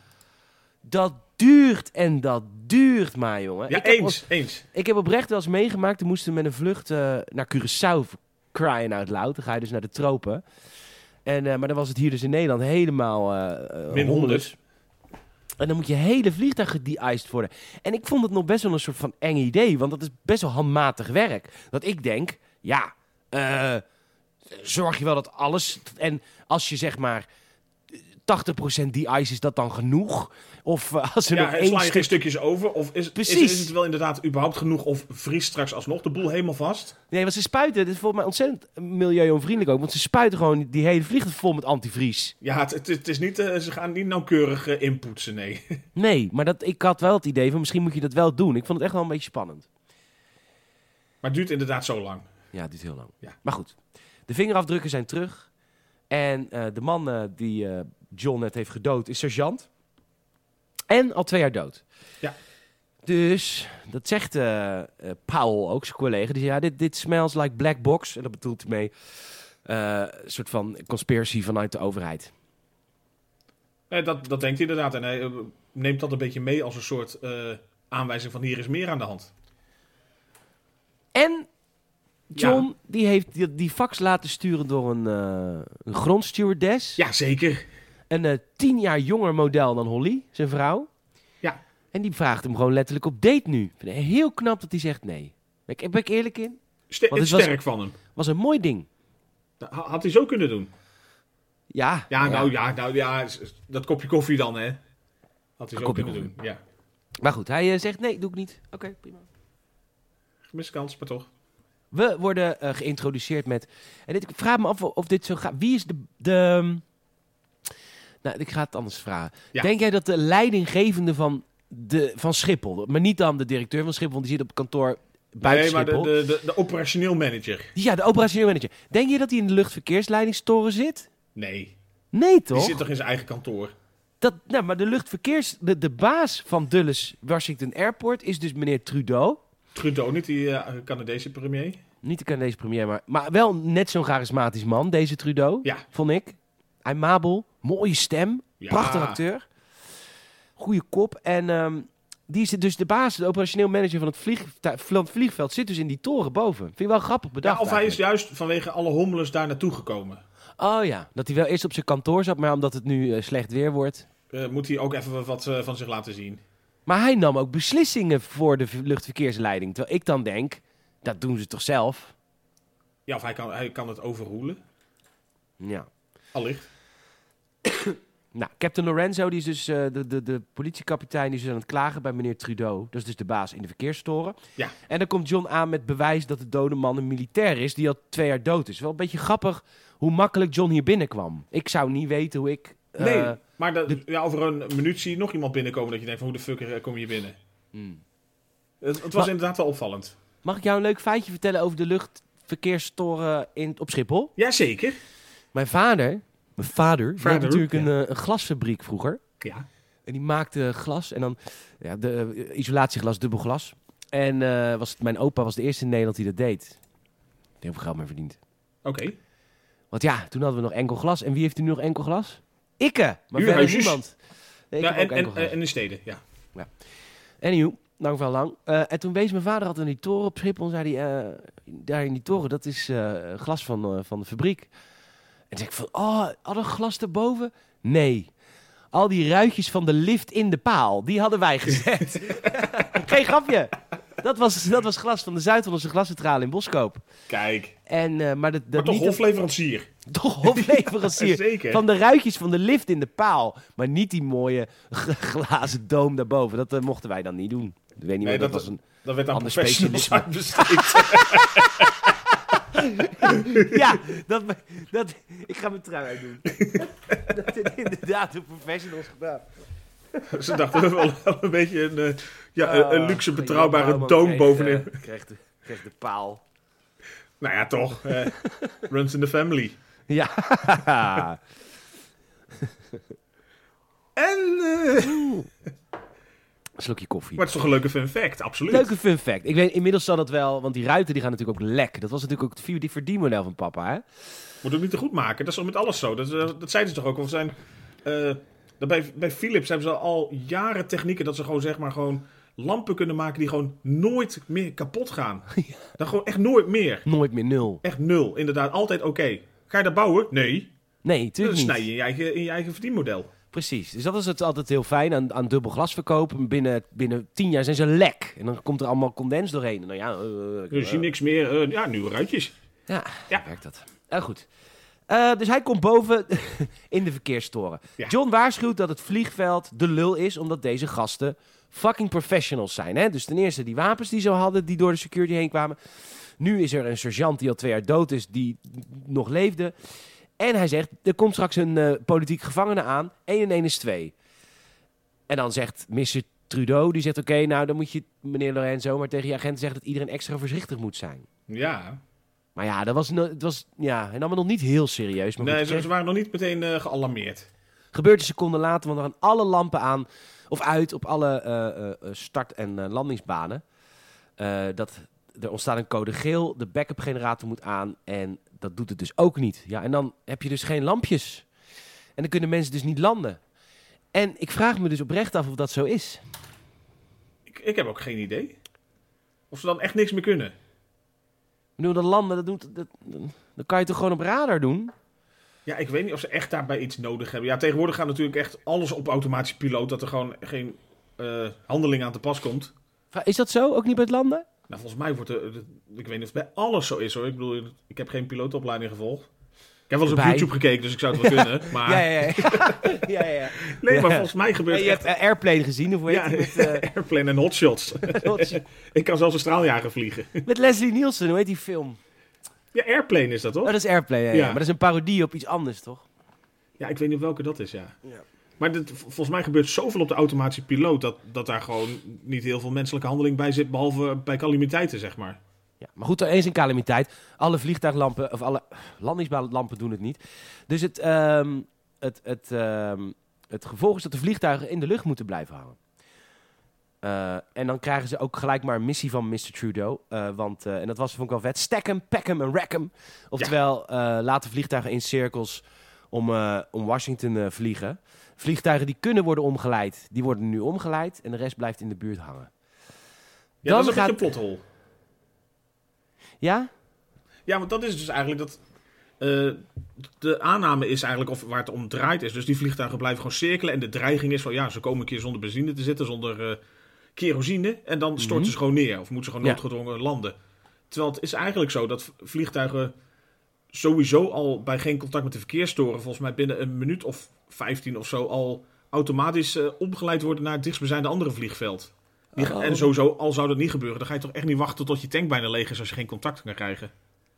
Speaker 1: dat duurt en dat duurt maar, jongen.
Speaker 2: Ja,
Speaker 1: Ik heb
Speaker 2: eens,
Speaker 1: op-
Speaker 2: eens.
Speaker 1: ik heb oprecht wel eens meegemaakt. Toen moesten we met een vlucht eh, naar Curaçao. Crying out loud. Dan ga je dus naar de tropen. En, eh, maar dan was het hier dus in Nederland helemaal... eh, eh,
Speaker 2: Min 100.
Speaker 1: en dan moet je hele vliegtuig gede-iced worden. En ik vond het nog best wel een soort van eng idee. Want dat is best wel handmatig werk. Dat ik denk, ja, eh, zorg je wel dat alles... En als je zeg maar... 80% de-ice is dat dan genoeg? Of eh, als er
Speaker 2: Ja,
Speaker 1: nog
Speaker 2: en sla
Speaker 1: één
Speaker 2: je
Speaker 1: stuk...
Speaker 2: geen stukjes over? Of is, is,
Speaker 1: Precies.
Speaker 2: is het wel inderdaad überhaupt genoeg? Of vries straks alsnog de boel helemaal vast?
Speaker 1: Nee, want ze spuiten. Het is volgens mij ontzettend milieuonvriendelijk ook. Want ze spuiten gewoon die hele vliegtuig vol met antivries.
Speaker 2: Ja, het, het, het is niet, eh, ze gaan niet nauwkeurig eh, inpoetsen, nee.
Speaker 1: Nee, maar dat, ik had wel het idee van misschien moet je dat wel doen. Ik vond het echt wel een beetje spannend.
Speaker 2: Maar het duurt inderdaad zo lang.
Speaker 1: Ja, het duurt heel lang.
Speaker 2: Ja.
Speaker 1: Maar goed, de vingerafdrukken zijn terug. En eh, de man eh, die eh, John net heeft gedood is sergeant. En al twee jaar dood.
Speaker 2: Ja.
Speaker 1: Dus, dat zegt eh eh, Powell ook, zijn collega. Die zei, ja, dit, dit smells like black box. En dat bedoelt hij mee eh, een soort van conspiracy vanuit de overheid.
Speaker 2: Nee, dat, dat denkt hij inderdaad. En hij eh, neemt dat een beetje mee als een soort eh, aanwijzing van hier is meer aan de hand.
Speaker 1: En John,
Speaker 2: Ja.
Speaker 1: die heeft die, die fax laten sturen door een, eh een grondstewardess.
Speaker 2: Ja, zeker.
Speaker 1: Een eh, tien jaar jonger model dan Holly, zijn vrouw.
Speaker 2: Ja.
Speaker 1: En die vraagt hem gewoon letterlijk op date nu. Ik vind het heel knap dat hij zegt nee. Ben ik, ben ik eerlijk in?
Speaker 2: Ste-
Speaker 1: Want het was-
Speaker 2: sterk van hem.
Speaker 1: Was een mooi ding.
Speaker 2: Dat ha- Had hij zo kunnen doen.
Speaker 1: Ja.
Speaker 2: Ja, nou ja, nou, ja s- s- dat kopje koffie dan, hè. Had hij zo
Speaker 1: kopje
Speaker 2: kunnen doen. Ja,
Speaker 1: Maar goed, hij eh, zegt nee, doe ik niet. Oké, prima.
Speaker 2: gemiste kans, maar toch.
Speaker 1: We worden eh, geïntroduceerd met... En dit, ik vraag me af of dit zo gaat. Wie is de... de nou, ik ga het anders vragen.
Speaker 2: Ja.
Speaker 1: Denk jij dat de leidinggevende van, de, van Schiphol... Maar niet dan de directeur van Schiphol, want die zit op kantoor buiten
Speaker 2: nee, maar de,
Speaker 1: Schiphol.
Speaker 2: de, de, de operationeel manager.
Speaker 1: Ja, de operationeel manager. Denk je dat hij in de luchtverkeersleidingstoren zit?
Speaker 2: Nee,
Speaker 1: Nee, toch?
Speaker 2: die zit toch in zijn eigen kantoor.
Speaker 1: Dat, nou, maar de luchtverkeers... De, de baas van Dulles Washington Airport is dus meneer Trudeau.
Speaker 2: Trudeau niet, die eh, Canadese premier.
Speaker 1: Niet de Canadese premier, maar, maar wel net zo'n charismatisch man, deze Trudeau.
Speaker 2: Ja.
Speaker 1: Vond ik. Aimabel, mooie stem,
Speaker 2: Ja.
Speaker 1: prachtig acteur. Goede kop. En ehm, die is dus de baas, de operationeel manager van het, vliegtu- van het vliegveld, zit dus in die toren boven. Vind ik wel grappig
Speaker 2: Ja,
Speaker 1: bedacht.
Speaker 2: of hij is
Speaker 1: eigenlijk.
Speaker 2: juist vanwege alle hommeles daar naartoe gekomen.
Speaker 1: Oh ja, dat hij wel eerst op zijn kantoor zat, maar omdat het nu eh, slecht weer wordt.
Speaker 2: Eh, moet hij ook even wat eh, van zich laten zien.
Speaker 1: Maar hij nam ook beslissingen voor de v- luchtverkeersleiding. Terwijl ik dan denk, dat doen ze toch zelf?
Speaker 2: Ja, of hij kan, hij kan het overroelen.
Speaker 1: Ja.
Speaker 2: Allicht.
Speaker 1: Nou, Captain Lorenzo, die is dus eh, de, de, de politiekapitein, die is dus aan het klagen bij meneer Trudeau. Dat is dus de baas in de verkeerstoren.
Speaker 2: Ja.
Speaker 1: En dan komt John aan met bewijs dat de dode man een militair is die al twee jaar dood is. Wel een beetje grappig hoe makkelijk John hier binnenkwam. Ik zou niet weten hoe ik. eh,
Speaker 2: Nee, maar dat- ja, over een minuut zie je nog iemand binnenkomen dat je denkt van hoe de fuck eh, kom je binnen?
Speaker 1: hmm.
Speaker 2: Het, het was
Speaker 1: Maar-
Speaker 2: inderdaad wel opvallend.
Speaker 1: Mag ik jou een leuk feitje vertellen over de luchtverkeerstoren in, op Schiphol?
Speaker 2: Jazeker.
Speaker 1: Mijn vader, mijn vader, die had
Speaker 2: Vader,
Speaker 1: natuurlijk een,
Speaker 2: ja.
Speaker 1: eh, een glasfabriek vroeger.
Speaker 2: Ja.
Speaker 1: En die maakte glas en dan ja, de, eh, isolatieglas, dubbel glas. En eh, was het, mijn opa was de eerste in Nederland die dat deed. Heel veel geld mee verdiend.
Speaker 2: Oké.
Speaker 1: Want ja, toen hadden we nog enkel glas. En wie heeft er nu nog enkel glas? Ikke! Maar verder
Speaker 2: Huurhuisjes.
Speaker 1: niemand. Nee, ik
Speaker 2: Ja,
Speaker 1: heb
Speaker 2: en,
Speaker 1: ook enkel
Speaker 2: en,
Speaker 1: glas.
Speaker 2: en in steden, ja.
Speaker 1: Anyhow, lang van lang. Eh, en toen wees mijn vader altijd in die toren op Schiphol. En zei hij, eh, daar in die toren, dat is eh, glas van, eh, van de fabriek. En toen zei ik van, oh, had een glas erboven? Nee. Al die ruitjes van de lift in de paal, die hadden wij gezet. Geen grapje. Dat was, dat was glas van de Zuid-Hollandse glascentrale in Boskoop.
Speaker 2: Kijk.
Speaker 1: En, eh, maar dat, dat
Speaker 2: maar toch
Speaker 1: niet dat-
Speaker 2: hofleverancier.
Speaker 1: toch hofleverancier.
Speaker 2: Zeker.
Speaker 1: Van de ruitjes van de lift in de paal. Maar niet die mooie glazen doom daarboven. Dat eh, mochten wij dan niet doen. Ik weet niet
Speaker 2: Nee,
Speaker 1: meer, dat,
Speaker 2: dat-
Speaker 1: was een...
Speaker 2: Dat werd aan
Speaker 1: Ander
Speaker 2: professionals
Speaker 1: specialisme.
Speaker 2: uitbesteed.
Speaker 1: ja, dat, dat, ik ga mijn trui uitdoen. dat is inderdaad de professionals gedaan.
Speaker 2: Ze dachten we willen wel een beetje een, eh, ja,
Speaker 1: Ah,
Speaker 2: een, een luxe,
Speaker 1: Jan
Speaker 2: betrouwbare
Speaker 1: Bouwman
Speaker 2: toon
Speaker 1: kreeg,
Speaker 2: bovenin.
Speaker 1: eh, kreeg, de, kreeg de paal.
Speaker 2: Nou ja, toch. eh, runs in the family.
Speaker 1: Ja.
Speaker 2: En, eh,
Speaker 1: Slokje koffie.
Speaker 2: maar het is toch een leuke fun fact, absoluut.
Speaker 1: Leuke fun fact. Ik weet inmiddels zal dat wel, want die ruiten die gaan natuurlijk ook lek. Dat was natuurlijk ook het view- die verdienmodel van papa, hè?
Speaker 2: Moet ook niet te goed maken. Dat is toch met alles zo. Dat, eh, dat zeiden ze toch ook. al. We zijn, eh, dat bij, bij Philips hebben ze al jaren technieken dat ze gewoon zeg maar gewoon lampen kunnen maken die gewoon nooit meer kapot gaan. Dan gewoon echt nooit meer.
Speaker 1: Nooit meer nul.
Speaker 2: Echt nul. Inderdaad, altijd oké. Ga je dat bouwen? Nee.
Speaker 1: Nee,
Speaker 2: Dan
Speaker 1: tuurlijk
Speaker 2: snij
Speaker 1: niet.
Speaker 2: je in je eigen, in je eigen verdienmodel.
Speaker 1: Precies. Dus dat is het altijd heel fijn aan, aan dubbel glas verkopen. Binnen, binnen tien jaar zijn ze lek. En dan komt er allemaal condens doorheen. Nou ja, eh,
Speaker 2: Dus je
Speaker 1: eh,
Speaker 2: ziet niks meer. eh, ja, nieuwe ruitjes.
Speaker 1: Ja,
Speaker 2: Ja.
Speaker 1: werkt dat. Eh, goed. Eh, dus hij komt boven in de verkeerstoren.
Speaker 2: Ja.
Speaker 1: John waarschuwt dat het vliegveld de lul is, omdat deze gasten fucking professionals zijn. Hè? Dus ten eerste die wapens die ze hadden, die door de security heen kwamen. Nu is er een sergeant die al twee jaar dood is, die nog leefde. En hij zegt, er komt straks een eh, politiek gevangene aan. 1 en 1 is 2. En dan zegt Mr. Trudeau, die zegt... Oké, nou dan moet je meneer Lorenzo maar tegen je agent zeggen... dat iedereen extra voorzichtig moet zijn.
Speaker 2: Ja.
Speaker 1: Maar ja, dat was, no- het was ja, hij nam het nog niet heel serieus. Maar
Speaker 2: Nee,
Speaker 1: goed,
Speaker 2: ze,
Speaker 1: het
Speaker 2: ze waren nog niet meteen eh, gealarmeerd.
Speaker 1: gebeurt een seconde later, want er gaan alle lampen aan of uit op alle eh, eh, eh, start- en eh, landingsbanen. Eh, dat, er ontstaat een code geel, de backup generator moet aan en dat doet het dus ook niet. Ja, en dan heb je dus geen lampjes. En dan kunnen mensen dus niet landen. En ik vraag me dus oprecht af of dat zo is.
Speaker 2: Ik, ik heb ook geen idee. Of ze dan echt niks meer kunnen.
Speaker 1: Nu dat landen, dat doet, dat, dan kan je toch gewoon op radar doen?
Speaker 2: Ja, ik weet niet of ze echt daarbij iets nodig hebben. Ja, tegenwoordig gaat natuurlijk echt alles op automatische piloot. Dat er gewoon geen eh, handeling aan te pas komt.
Speaker 1: Vra- Is dat zo? Ook niet bij het landen?
Speaker 2: Nou, volgens mij wordt er... Ik weet niet of het bij alles zo is hoor. Ik bedoel, ik heb geen pilootopleiding gevolgd. Ik heb wel eens op
Speaker 1: Bij.
Speaker 2: YouTube gekeken, dus ik zou het wel kunnen. Maar,
Speaker 1: Ja, ja, ja. ja, ja, ja.
Speaker 2: Nee, maar
Speaker 1: Ja.
Speaker 2: volgens mij gebeurt
Speaker 1: Nee,
Speaker 2: het
Speaker 1: je hebt
Speaker 2: echt...
Speaker 1: eh, Airplane gezien, of hoe heet
Speaker 2: Ja.
Speaker 1: die met,
Speaker 2: Airplane en hotshots.
Speaker 1: eh, Hotch-
Speaker 2: ik kan zelfs een straaljager vliegen.
Speaker 1: met Leslie Nielsen, hoe heet die film?
Speaker 2: Ja, Airplane is dat
Speaker 1: Oh,
Speaker 2: toch?
Speaker 1: dat is Airplane, ja, ja.
Speaker 2: Ja.
Speaker 1: maar dat is een parodie op iets anders, toch?
Speaker 2: Ja, ik weet niet op welke dat is, ja.
Speaker 1: Ja.
Speaker 2: Maar dit- vol- volgens mij gebeurt zoveel op de automatische piloot... Dat, dat daar gewoon niet heel veel menselijke handeling bij zit... behalve bij calamiteiten, zeg maar.
Speaker 1: Ja, maar goed, er is een calamiteit. Alle vliegtuiglampen, of alle landingsbaanlampen doen het niet. Dus het, ehm, het, het, ehm, het gevolg is dat de vliegtuigen in de lucht moeten blijven hangen. Eh, en dan krijgen ze ook gelijk maar een missie van Mr. Trudeau. eh, want, eh, en dat was, vond ik wel vet, stack hem, pack hem en rack hem. Oftewel, eh, laten vliegtuigen in cirkels om, eh, om Washington eh, vliegen. Vliegtuigen die kunnen worden omgeleid, die worden nu omgeleid. En de rest blijft in de buurt hangen.
Speaker 2: Ja,
Speaker 1: Dan
Speaker 2: dat is een
Speaker 1: gaat-
Speaker 2: beetje een plothol.
Speaker 1: Ja?
Speaker 2: Ja, want dat is dus eigenlijk dat... eh, de aanname is eigenlijk of waar het om draait is. Dus die vliegtuigen blijven gewoon cirkelen. En de dreiging is van ja, ze komen een keer zonder benzine te zitten, zonder eh, kerosine. En dan storten ze gewoon neer. Of moeten ze gewoon
Speaker 1: Mhm. Ja.
Speaker 2: noodgedwongen landen. Terwijl het is eigenlijk zo dat v- vliegtuigen sowieso al bij geen contact met de verkeerstoren, volgens mij binnen een minuut of 15 of zo, al automatisch eh, omgeleid worden naar het dichtstbijzijnde andere vliegveld. Die ga-
Speaker 1: Oh.
Speaker 2: En sowieso, al zou dat niet gebeuren, dan ga je toch echt niet wachten tot je tank bijna leeg is als je geen contact kan krijgen.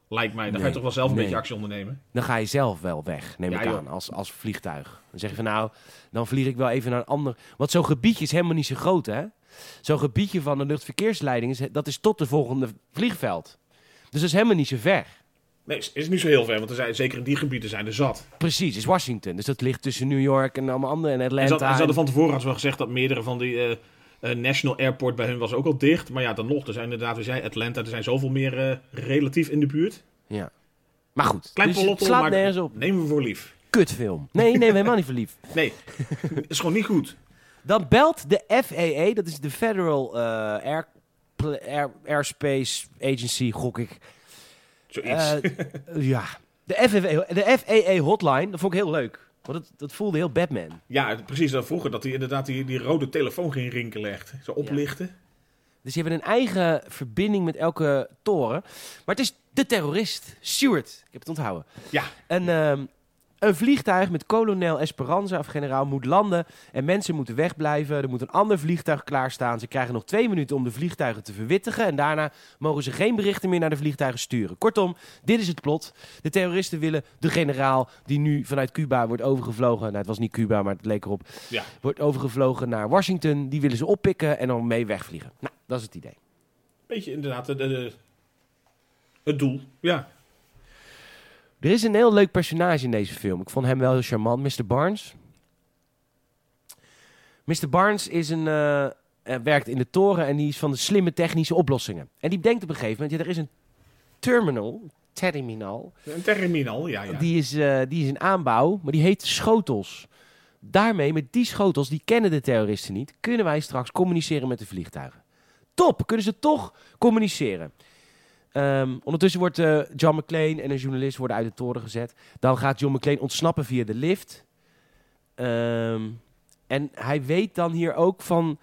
Speaker 2: Lijkt mij. Dan ga
Speaker 1: Nee,
Speaker 2: je toch wel zelf een
Speaker 1: nee.
Speaker 2: beetje actie ondernemen.
Speaker 1: dan ga je zelf wel weg, neem
Speaker 2: Ja,
Speaker 1: ik
Speaker 2: joh.
Speaker 1: aan, als, als vliegtuig. Dan zeg je van nou, dan vlieg ik wel even naar een ander. Want zo'n gebiedje is helemaal niet zo groot, hè? Zo'n gebiedje van de luchtverkeersleiding, is, dat is tot de volgende vliegveld. Dus dat is helemaal niet zo ver.
Speaker 2: Nee, is, is niet zo heel ver, want er zijn, zeker in die gebieden zijn er zat.
Speaker 1: Precies, is Washington. Dus dat ligt tussen New York en allemaal andere en
Speaker 2: En ze
Speaker 1: Atlanta.
Speaker 2: hadden- ze hadden van tevoren hadden ze wel gezegd dat meerdere van die eh, eh, National Airport bij hun was ook al dicht. Maar ja, dan nog. Er zijn inderdaad, we zei Atlanta, er zijn zoveel meer eh, relatief in de buurt.
Speaker 1: Ja. Maar goed,
Speaker 2: Klein
Speaker 1: dus het
Speaker 2: polottel,
Speaker 1: slaat
Speaker 2: maar-
Speaker 1: nergens op.
Speaker 2: Nemen we voor lief.
Speaker 1: Kutfilm. Nee, nee, helemaal niet verliefd.
Speaker 2: Nee, is gewoon niet goed.
Speaker 1: Dan belt de FAA, dat is de Federal eh, Air, Air- Airspace Agency, gok ik.
Speaker 2: Zoiets.
Speaker 1: Eh, ja. De FAA, de FAA hotline, dat vond ik heel leuk. Want het, dat voelde heel Batman.
Speaker 2: ja, precies. Dat vroeger dat hij inderdaad die, die rode telefoon ging rinkelen echt. Zo oplichten.
Speaker 1: Dus die hebben een eigen verbinding met elke toren. Maar het is de terrorist, Stewart. Ik heb het onthouden.
Speaker 2: Ja.
Speaker 1: En ehm, Een vliegtuig met kolonel Esperanza of generaal moet landen en mensen moeten wegblijven. Er moet een ander vliegtuig klaarstaan. Ze krijgen nog twee minuten om de vliegtuigen te verwittigen en daarna mogen ze geen berichten meer naar de vliegtuigen sturen. Kortom, dit is het plot. De terroristen willen de generaal die nu vanuit Cuba wordt overgevlogen. Nou, het was niet Cuba, maar het leek erop.
Speaker 2: Ja.
Speaker 1: Wordt overgevlogen naar Washington. Die willen ze oppikken en dan mee wegvliegen. Nou, dat is het idee.
Speaker 2: Beetje inderdaad de, de- de- het doel. Ja.
Speaker 1: Er is een heel leuk personage in deze film. Ik vond hem wel heel charmant, Mr. Barnes. Mr. Barnes is een, eh, eh, werkt in de toren en die is van de slimme technische oplossingen. En die denkt op een gegeven moment, ja, er is een terminal, terminal,
Speaker 2: Een terminal, ja. ja.
Speaker 1: die is, eh, die is in aanbouw, maar die heet schotels. Daarmee, met die schotels, die kennen de terroristen niet, kunnen wij straks communiceren met de vliegtuigen. Top, kunnen ze toch communiceren. Ehm, ondertussen wordt eh, John McClane en een journalist worden uit de toren gezet. Dan gaat John McClane ontsnappen via de lift. Ehm, en hij weet dan hier ook van...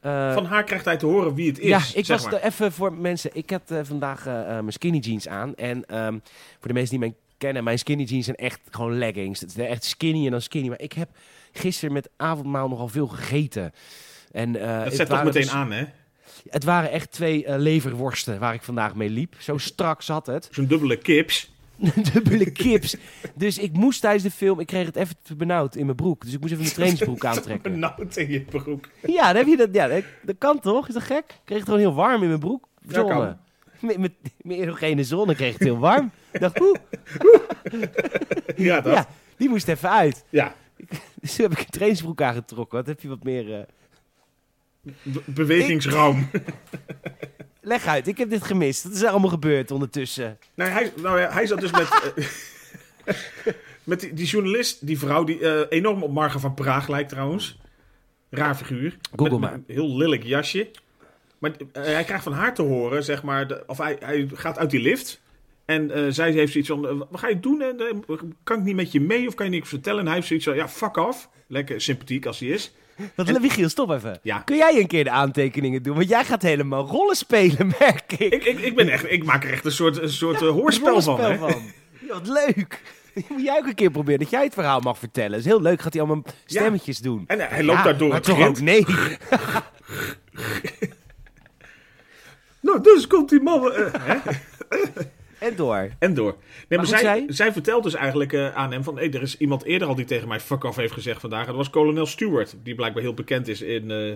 Speaker 1: eh,
Speaker 2: Van haar krijgt hij te horen wie het is.
Speaker 1: ja, ik
Speaker 2: zeg
Speaker 1: was
Speaker 2: maar.
Speaker 1: er even voor mensen. Ik had eh, vandaag eh, eh, mijn skinny jeans aan. En ehm, voor de mensen die mij kennen, mijn skinny jeans zijn echt gewoon leggings. Het is echt skinny en dan skinny. Maar ik heb gisteren met avondmaal nogal veel gegeten. En, eh,
Speaker 2: Dat
Speaker 1: het
Speaker 2: zet toch
Speaker 1: waren
Speaker 2: meteen
Speaker 1: dus-
Speaker 2: aan, hè?
Speaker 1: Het waren echt twee eh, leverworsten waar ik vandaag mee liep. Zo strak zat het.
Speaker 2: Zo'n dubbele kips.
Speaker 1: Dubbele kips. Dus ik moest tijdens de film, ik kreeg het even te benauwd in mijn broek. Dus ik moest even mijn trainingsbroek aantrekken.
Speaker 2: Benauwd in je broek.
Speaker 1: Ja, dan heb je dat, ja dat, dat kan toch? Is dat gek? Ik kreeg het gewoon heel warm in mijn broek.
Speaker 2: Ja,
Speaker 1: Zonne.
Speaker 2: kan.
Speaker 1: met, met, met erogene zonne kreeg het heel warm. Ik dacht, oeh,
Speaker 2: Ja, dat.
Speaker 1: ja,
Speaker 2: Ja.
Speaker 1: die moest even uit. Dus toen heb ik een trainingsbroek aangetrokken. Wat heb je wat meer... eh,
Speaker 2: Be- bewegingsruim.
Speaker 1: Leg uit, ik heb dit gemist. Dat is allemaal gebeurd ondertussen.
Speaker 2: Nee, hij, nou ja, hij zat dus met. eh, met die, die journalist, die vrouw, die eh, enorm op Marga van Praag lijkt trouwens. Raar figuur.
Speaker 1: Google
Speaker 2: Met- met
Speaker 1: maar.
Speaker 2: een heel lelijk jasje. Maar eh, hij krijgt van haar te horen, zeg maar. de- of hij, hij gaat uit die lift. En eh, zij heeft zoiets van: eh, Wat ga je doen? En, eh, kan ik niet met je mee? Of kan je niks vertellen? En hij heeft zoiets van: Ja, fuck off. Lekker sympathiek als hij is.
Speaker 1: Wat, Wigiel, stop even.
Speaker 2: Ja.
Speaker 1: Kun jij een keer de aantekeningen doen? Want jij gaat helemaal rollen spelen, merk ik.
Speaker 2: Ik, ik, ik, ben echt, ik maak er echt een soort, een soort eh, hoorspel
Speaker 1: Rollenspel
Speaker 2: van. Hè?
Speaker 1: van. Ja, wat leuk. Moet jij ook een keer proberen dat jij het verhaal mag vertellen. Dat is heel leuk. Gaat hij allemaal stemmetjes doen.
Speaker 2: En eh, hij loopt
Speaker 1: Ja,
Speaker 2: daardoor
Speaker 1: maar
Speaker 2: het
Speaker 1: toch
Speaker 2: grind.
Speaker 1: ook nee.
Speaker 2: Nou, dus komt die man. eh, hè?
Speaker 1: En door.
Speaker 2: En door. Nee, maar
Speaker 1: goed,
Speaker 2: zij, zij...
Speaker 1: zij-
Speaker 2: vertelt dus eigenlijk eh, aan hem van... Hey, er is iemand eerder al die tegen mij fuck off heeft gezegd vandaag. Dat was kolonel Stewart, die blijkbaar heel bekend is in, eh,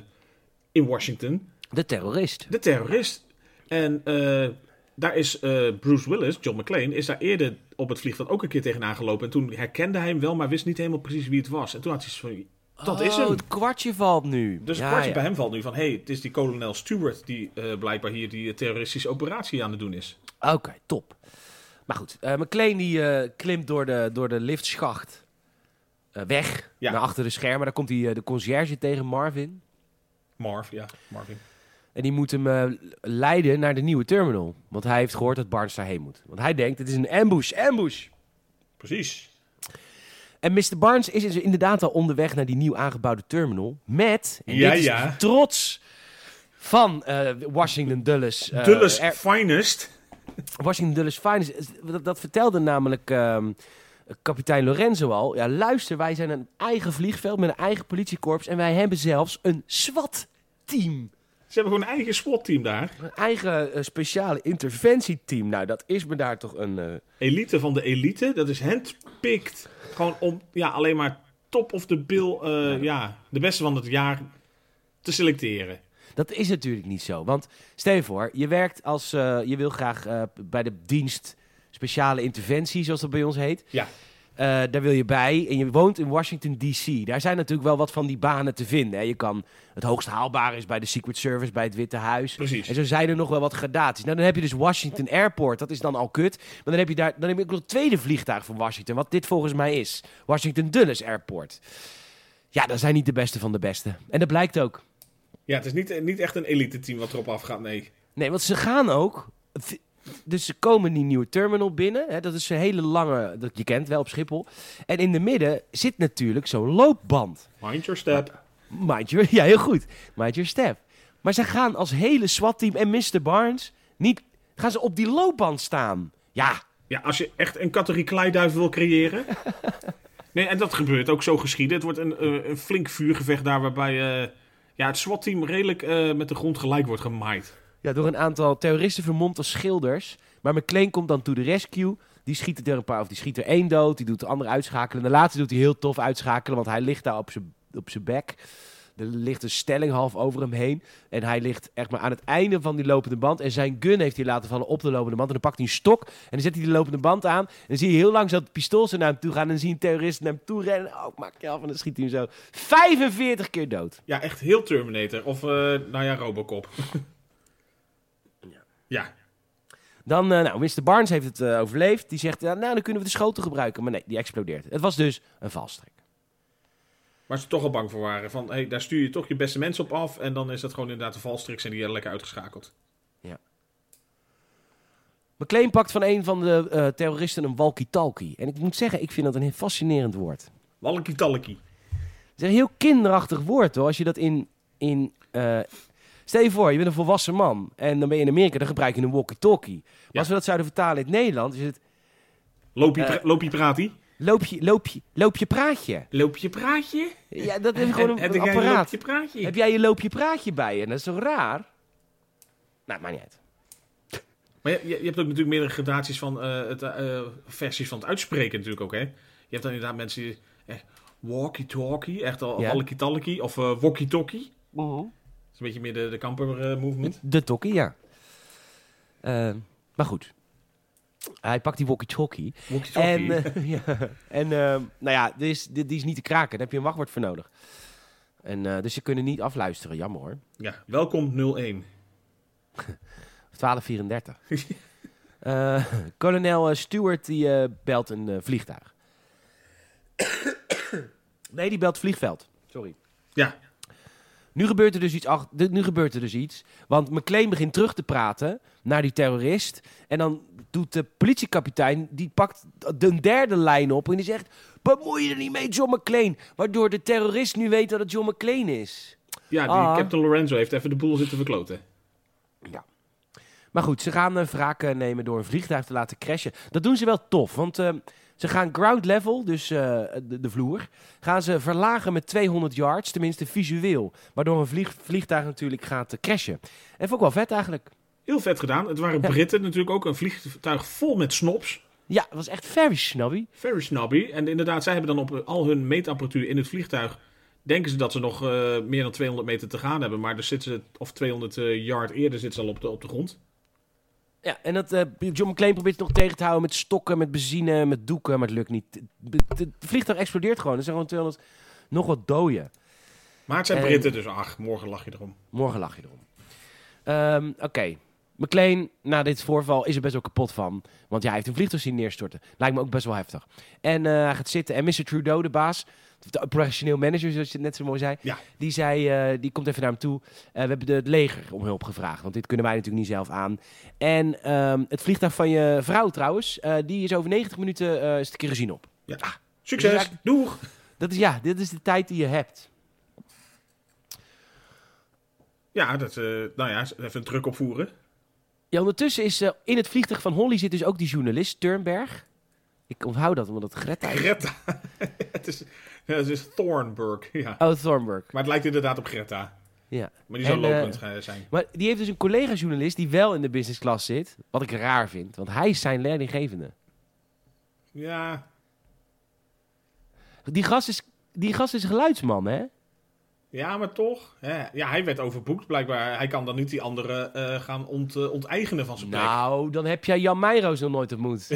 Speaker 2: in Washington.
Speaker 1: De terrorist.
Speaker 2: De terrorist. En eh, daar is eh, Bruce Willis, John McClane, is daar eerder op het vliegveld ook een keer tegenaan gelopen. En toen herkende hij hem wel, maar wist niet helemaal precies wie het was. En toen had hij zoiets van... Dat is hem.
Speaker 1: Oh, het kwartje valt nu.
Speaker 2: Dus het
Speaker 1: Ja,
Speaker 2: kwartje
Speaker 1: ja.
Speaker 2: bij hem valt nu van... hey, het is die kolonel Stewart die eh, blijkbaar hier die terroristische operatie aan het doen is.
Speaker 1: Oké, top. Maar goed, eh McLean die eh, klimt door de, door de liftschacht eh, weg.
Speaker 2: Ja.
Speaker 1: Naar achter de schermen. Daar komt hij eh, de conciërge tegen, Marvin.
Speaker 2: Marv, ja. Marvin.
Speaker 1: En die moet hem eh, leiden naar de nieuwe terminal. Want hij heeft gehoord dat Barnes daarheen moet. Want hij denkt, het is een ambush, ambush.
Speaker 2: Precies.
Speaker 1: En Mr. Barnes is dus inderdaad al onderweg naar die nieuw aangebouwde terminal. Met, en
Speaker 2: Ja,
Speaker 1: dit is
Speaker 2: ja.
Speaker 1: de trots van eh, Washington Dulles. eh,
Speaker 2: Dulles
Speaker 1: Air-
Speaker 2: Finest.
Speaker 1: Washington Dulles Finest. Dat, dat vertelde namelijk ehm, kapitein Lorenzo al. Ja, luister, wij zijn een eigen vliegveld met een eigen politiekorps. En wij hebben zelfs een SWAT-team.
Speaker 2: Ze hebben gewoon een eigen SWAT-team daar.
Speaker 1: Een eigen eh, speciale interventieteam. Nou, dat is me daar toch een... eh,
Speaker 2: Elite van de elite. Dat is handpicked. Gewoon om ja, alleen maar top of the bill, eh, ja, de beste van het jaar te selecteren.
Speaker 1: Dat is natuurlijk niet zo. Want stel je voor, je werkt als... eh, je wil graag eh, bij de dienst speciale interventie, zoals dat bij ons heet.
Speaker 2: Ja,
Speaker 1: Eh, daar wil je bij. En je woont in Washington, D.C. Daar zijn natuurlijk wel wat van die banen te vinden. Hè. Je kan het hoogst haalbare is bij de Secret Service, bij het Witte Huis.
Speaker 2: Precies.
Speaker 1: En zo zijn er nog wel wat gradaties. Nou, dan heb je dus Washington Airport. Dat is dan al kut. Maar dan heb je, daar, dan heb je ook nog het tweede vliegtuig van Washington. Wat dit volgens mij is. Washington Dulles Airport. Ja, dat zijn niet de beste van de beste. En dat blijkt ook.
Speaker 2: ja het is niet, niet echt een elite-team wat erop afgaat, nee.
Speaker 1: Nee, want ze gaan ook. v- Dus ze komen die nieuwe terminal binnen. Hè, dat is een hele lange. Dat je kent wel op Schiphol. En in de midden zit natuurlijk zo'n loopband.
Speaker 2: Mind your step.
Speaker 1: Mind your, ja, heel goed. Mind your step. Maar ze gaan als hele SWAT-team en Mr. Barnes niet. Gaan ze op die loopband staan? Ja,
Speaker 2: Ja, als je echt een categorie kleiduif wil creëren. nee, en dat gebeurt ook zo geschieden. Het wordt een, eh, een flink vuurgevecht daar waarbij eh, ja, het SWAT-team redelijk eh, met de grond gelijk wordt gemaaid.
Speaker 1: Ja, door een aantal terroristen vermomd als schilders. Maar McLean komt dan to the rescue. Die schiet er een paar, of die schiet er één dood. Die doet de andere uitschakelen. De laatste doet hij heel tof uitschakelen, want hij ligt daar op zijn op zijn bek. Er ligt een stelling half over hem heen. En hij ligt echt maar aan het einde van die lopende band. En zijn gun heeft hij laten vallen op de lopende band. En dan pakt hij een stok. En dan zet hij die lopende band aan. En dan zie je heel langzaam dat pistool zo naar hem toe gaan. En dan zie je een terrorist naar hem toe rennen. Oh, maak je af. En dan schiet hij hem zo 45 keer dood.
Speaker 2: Ja, echt heel Terminator. Of, eh, nou ja, Robocop.
Speaker 1: Ja.
Speaker 2: ja.
Speaker 1: Dan, eh, nou, Mr. Barnes heeft het eh, overleefd. Die zegt, ja, nou, dan kunnen we de schoten gebruiken. Maar nee, die explodeert. Het was dus een valstrik.
Speaker 2: Waar ze toch al bang voor waren. Van, hey, daar stuur je toch je beste mensen op af. En dan is dat gewoon inderdaad de valstriks en die werden lekker uitgeschakeld.
Speaker 1: McLean pakt van een van de eh, terroristen een walkie-talkie. En ik moet zeggen, ik vind dat een heel fascinerend woord.
Speaker 2: Walkie talkie.
Speaker 1: Het is een heel kinderachtig woord hoor. Als je dat in. in eh, Stel je voor, je bent een volwassen man. En dan ben je in Amerika, dan gebruik je een walkie-talkie. Maar
Speaker 2: Ja.
Speaker 1: als we dat zouden vertalen in het Nederland, is het.
Speaker 2: Loop je,
Speaker 1: Eh.
Speaker 2: pra- loop je praatie?
Speaker 1: Loop je, loop je, loop je praatje.
Speaker 2: Loop je praatje?
Speaker 1: Ja, dat is gewoon een,
Speaker 2: heb
Speaker 1: een
Speaker 2: jij
Speaker 1: apparaat.
Speaker 2: Loop je praatje?
Speaker 1: Heb jij je loop je praatje bij je? Dat is zo raar. Nou, maakt niet uit.
Speaker 2: Maar je, je- je hebt ook natuurlijk meerdere gradaties van eh, het, eh, eh, versies van het uitspreken natuurlijk ook, hè? Je hebt dan inderdaad mensen die echt walkie-talkie, echt al
Speaker 1: Ja.
Speaker 2: walkie-talkie of eh walkie-talkie. Dat is een beetje meer de, eh, de kamper-movement.
Speaker 1: De tokkie, ja. Eh, maar goed. Hij pakt die walkie-talkie. En,
Speaker 2: Walkie-talkie.
Speaker 1: eh, ja. en eh, nou ja, die is, die, die is niet te kraken. Daar heb je een wachtwoord voor nodig. En, eh, dus ze kunnen niet afluisteren. Jammer hoor.
Speaker 2: Ja, welkom 01.
Speaker 1: 1234. Eh kolonel eh, Stewart die eh, belt een eh, vliegtuig. nee, die belt vliegveld. Sorry.
Speaker 2: Ja,
Speaker 1: Nu gebeurt er dus iets. ach- de- nu gebeurt er dus iets. Want McLean begint terug te praten naar die terrorist. En dan doet de politiekapitein. Die pakt de derde lijn op. En die zegt: Bemoei je er niet mee, John McLean. Waardoor de terrorist nu weet dat het John McLean is.
Speaker 2: ja die
Speaker 1: Ah.
Speaker 2: Captain Lorenzo heeft even de boel zitten verkloten.
Speaker 1: Maar goed, ze gaan eh wraak eh, nemen door een vliegtuig te laten crashen. Dat doen ze wel tof. Want eh, ze gaan ground level, dus eh, de, de vloer. Gaan ze verlagen met 200 yards. Tenminste visueel. Waardoor een vlieg- vliegtuig natuurlijk gaat eh, crashen. En vond ik wel vet eigenlijk.
Speaker 2: Heel vet gedaan. Het waren
Speaker 1: Ja.
Speaker 2: Britten natuurlijk ook een vliegtuig vol met snobs.
Speaker 1: Ja, het was echt very snobby.
Speaker 2: Very snobby. En inderdaad, zij hebben dan op al hun meetapparatuur in het vliegtuig. Denken ze dat ze nog eh, meer dan 200 meter te gaan hebben. Maar dan zitten ze, of 200 eh, yard eerder, zitten ze al op de, op de grond.
Speaker 1: Ja, en dat, eh, John McClane probeert het nog tegen te houden met stokken, met benzine, met doeken, maar het lukt niet. Het- Het het vliegtuig explodeert gewoon. Er zijn gewoon 200 nog wat doden.
Speaker 2: Maar het zijn
Speaker 1: En-
Speaker 2: Britten, dus ach, morgen lach je erom.
Speaker 1: Morgen lach je erom. Ehm, Oké. McLean, na dit voorval, is er best wel kapot van. Want ja, hij heeft een vliegtuig zien neerstorten. Lijkt me ook best wel heftig. En eh, hij gaat zitten. En Mr. Trudeau, de baas, de operationeel manager, zoals je het net zo mooi zei.
Speaker 2: Ja.
Speaker 1: Die, zei eh, die komt even naar hem toe. Eh, we hebben de- het leger om hulp gevraagd. Want dit kunnen wij natuurlijk niet zelf aan. En ehm, het vliegtuig van je vrouw trouwens, eh, die is over 90 minuten eh, is de kerosine op.
Speaker 2: Ja. Succes,
Speaker 1: Dus ja,
Speaker 2: doeg!
Speaker 1: Dat is ja, dit is de tijd die je hebt.
Speaker 2: Ja, dat, eh, nou ja, even druk opvoeren.
Speaker 1: Ja, ondertussen is eh, in het vliegtuig van Holly zit dus ook die journalist Turnberg. Ik onthoud dat, omdat het Greta is.
Speaker 2: Greta. het, is, ja, het is Thornburg, ja.
Speaker 1: Oh, Thornburg.
Speaker 2: Maar het lijkt inderdaad op Greta.
Speaker 1: Ja.
Speaker 2: Maar die zou
Speaker 1: En, eh,
Speaker 2: lopend eh, zijn.
Speaker 1: Maar die heeft dus een collega-journalist die wel in de business class zit. Wat ik raar vind, want hij is zijn leidinggevende.
Speaker 2: Ja,
Speaker 1: Die gast is, die gast is geluidsman, hè?
Speaker 2: ja maar toch. Hè. Ja, hij werd overboekt blijkbaar. Hij kan dan niet die andere eh, gaan ont, eh, onteigenen van zijn plek.
Speaker 1: Nou, dan heb jij Jan Meijroos nog nooit ontmoet.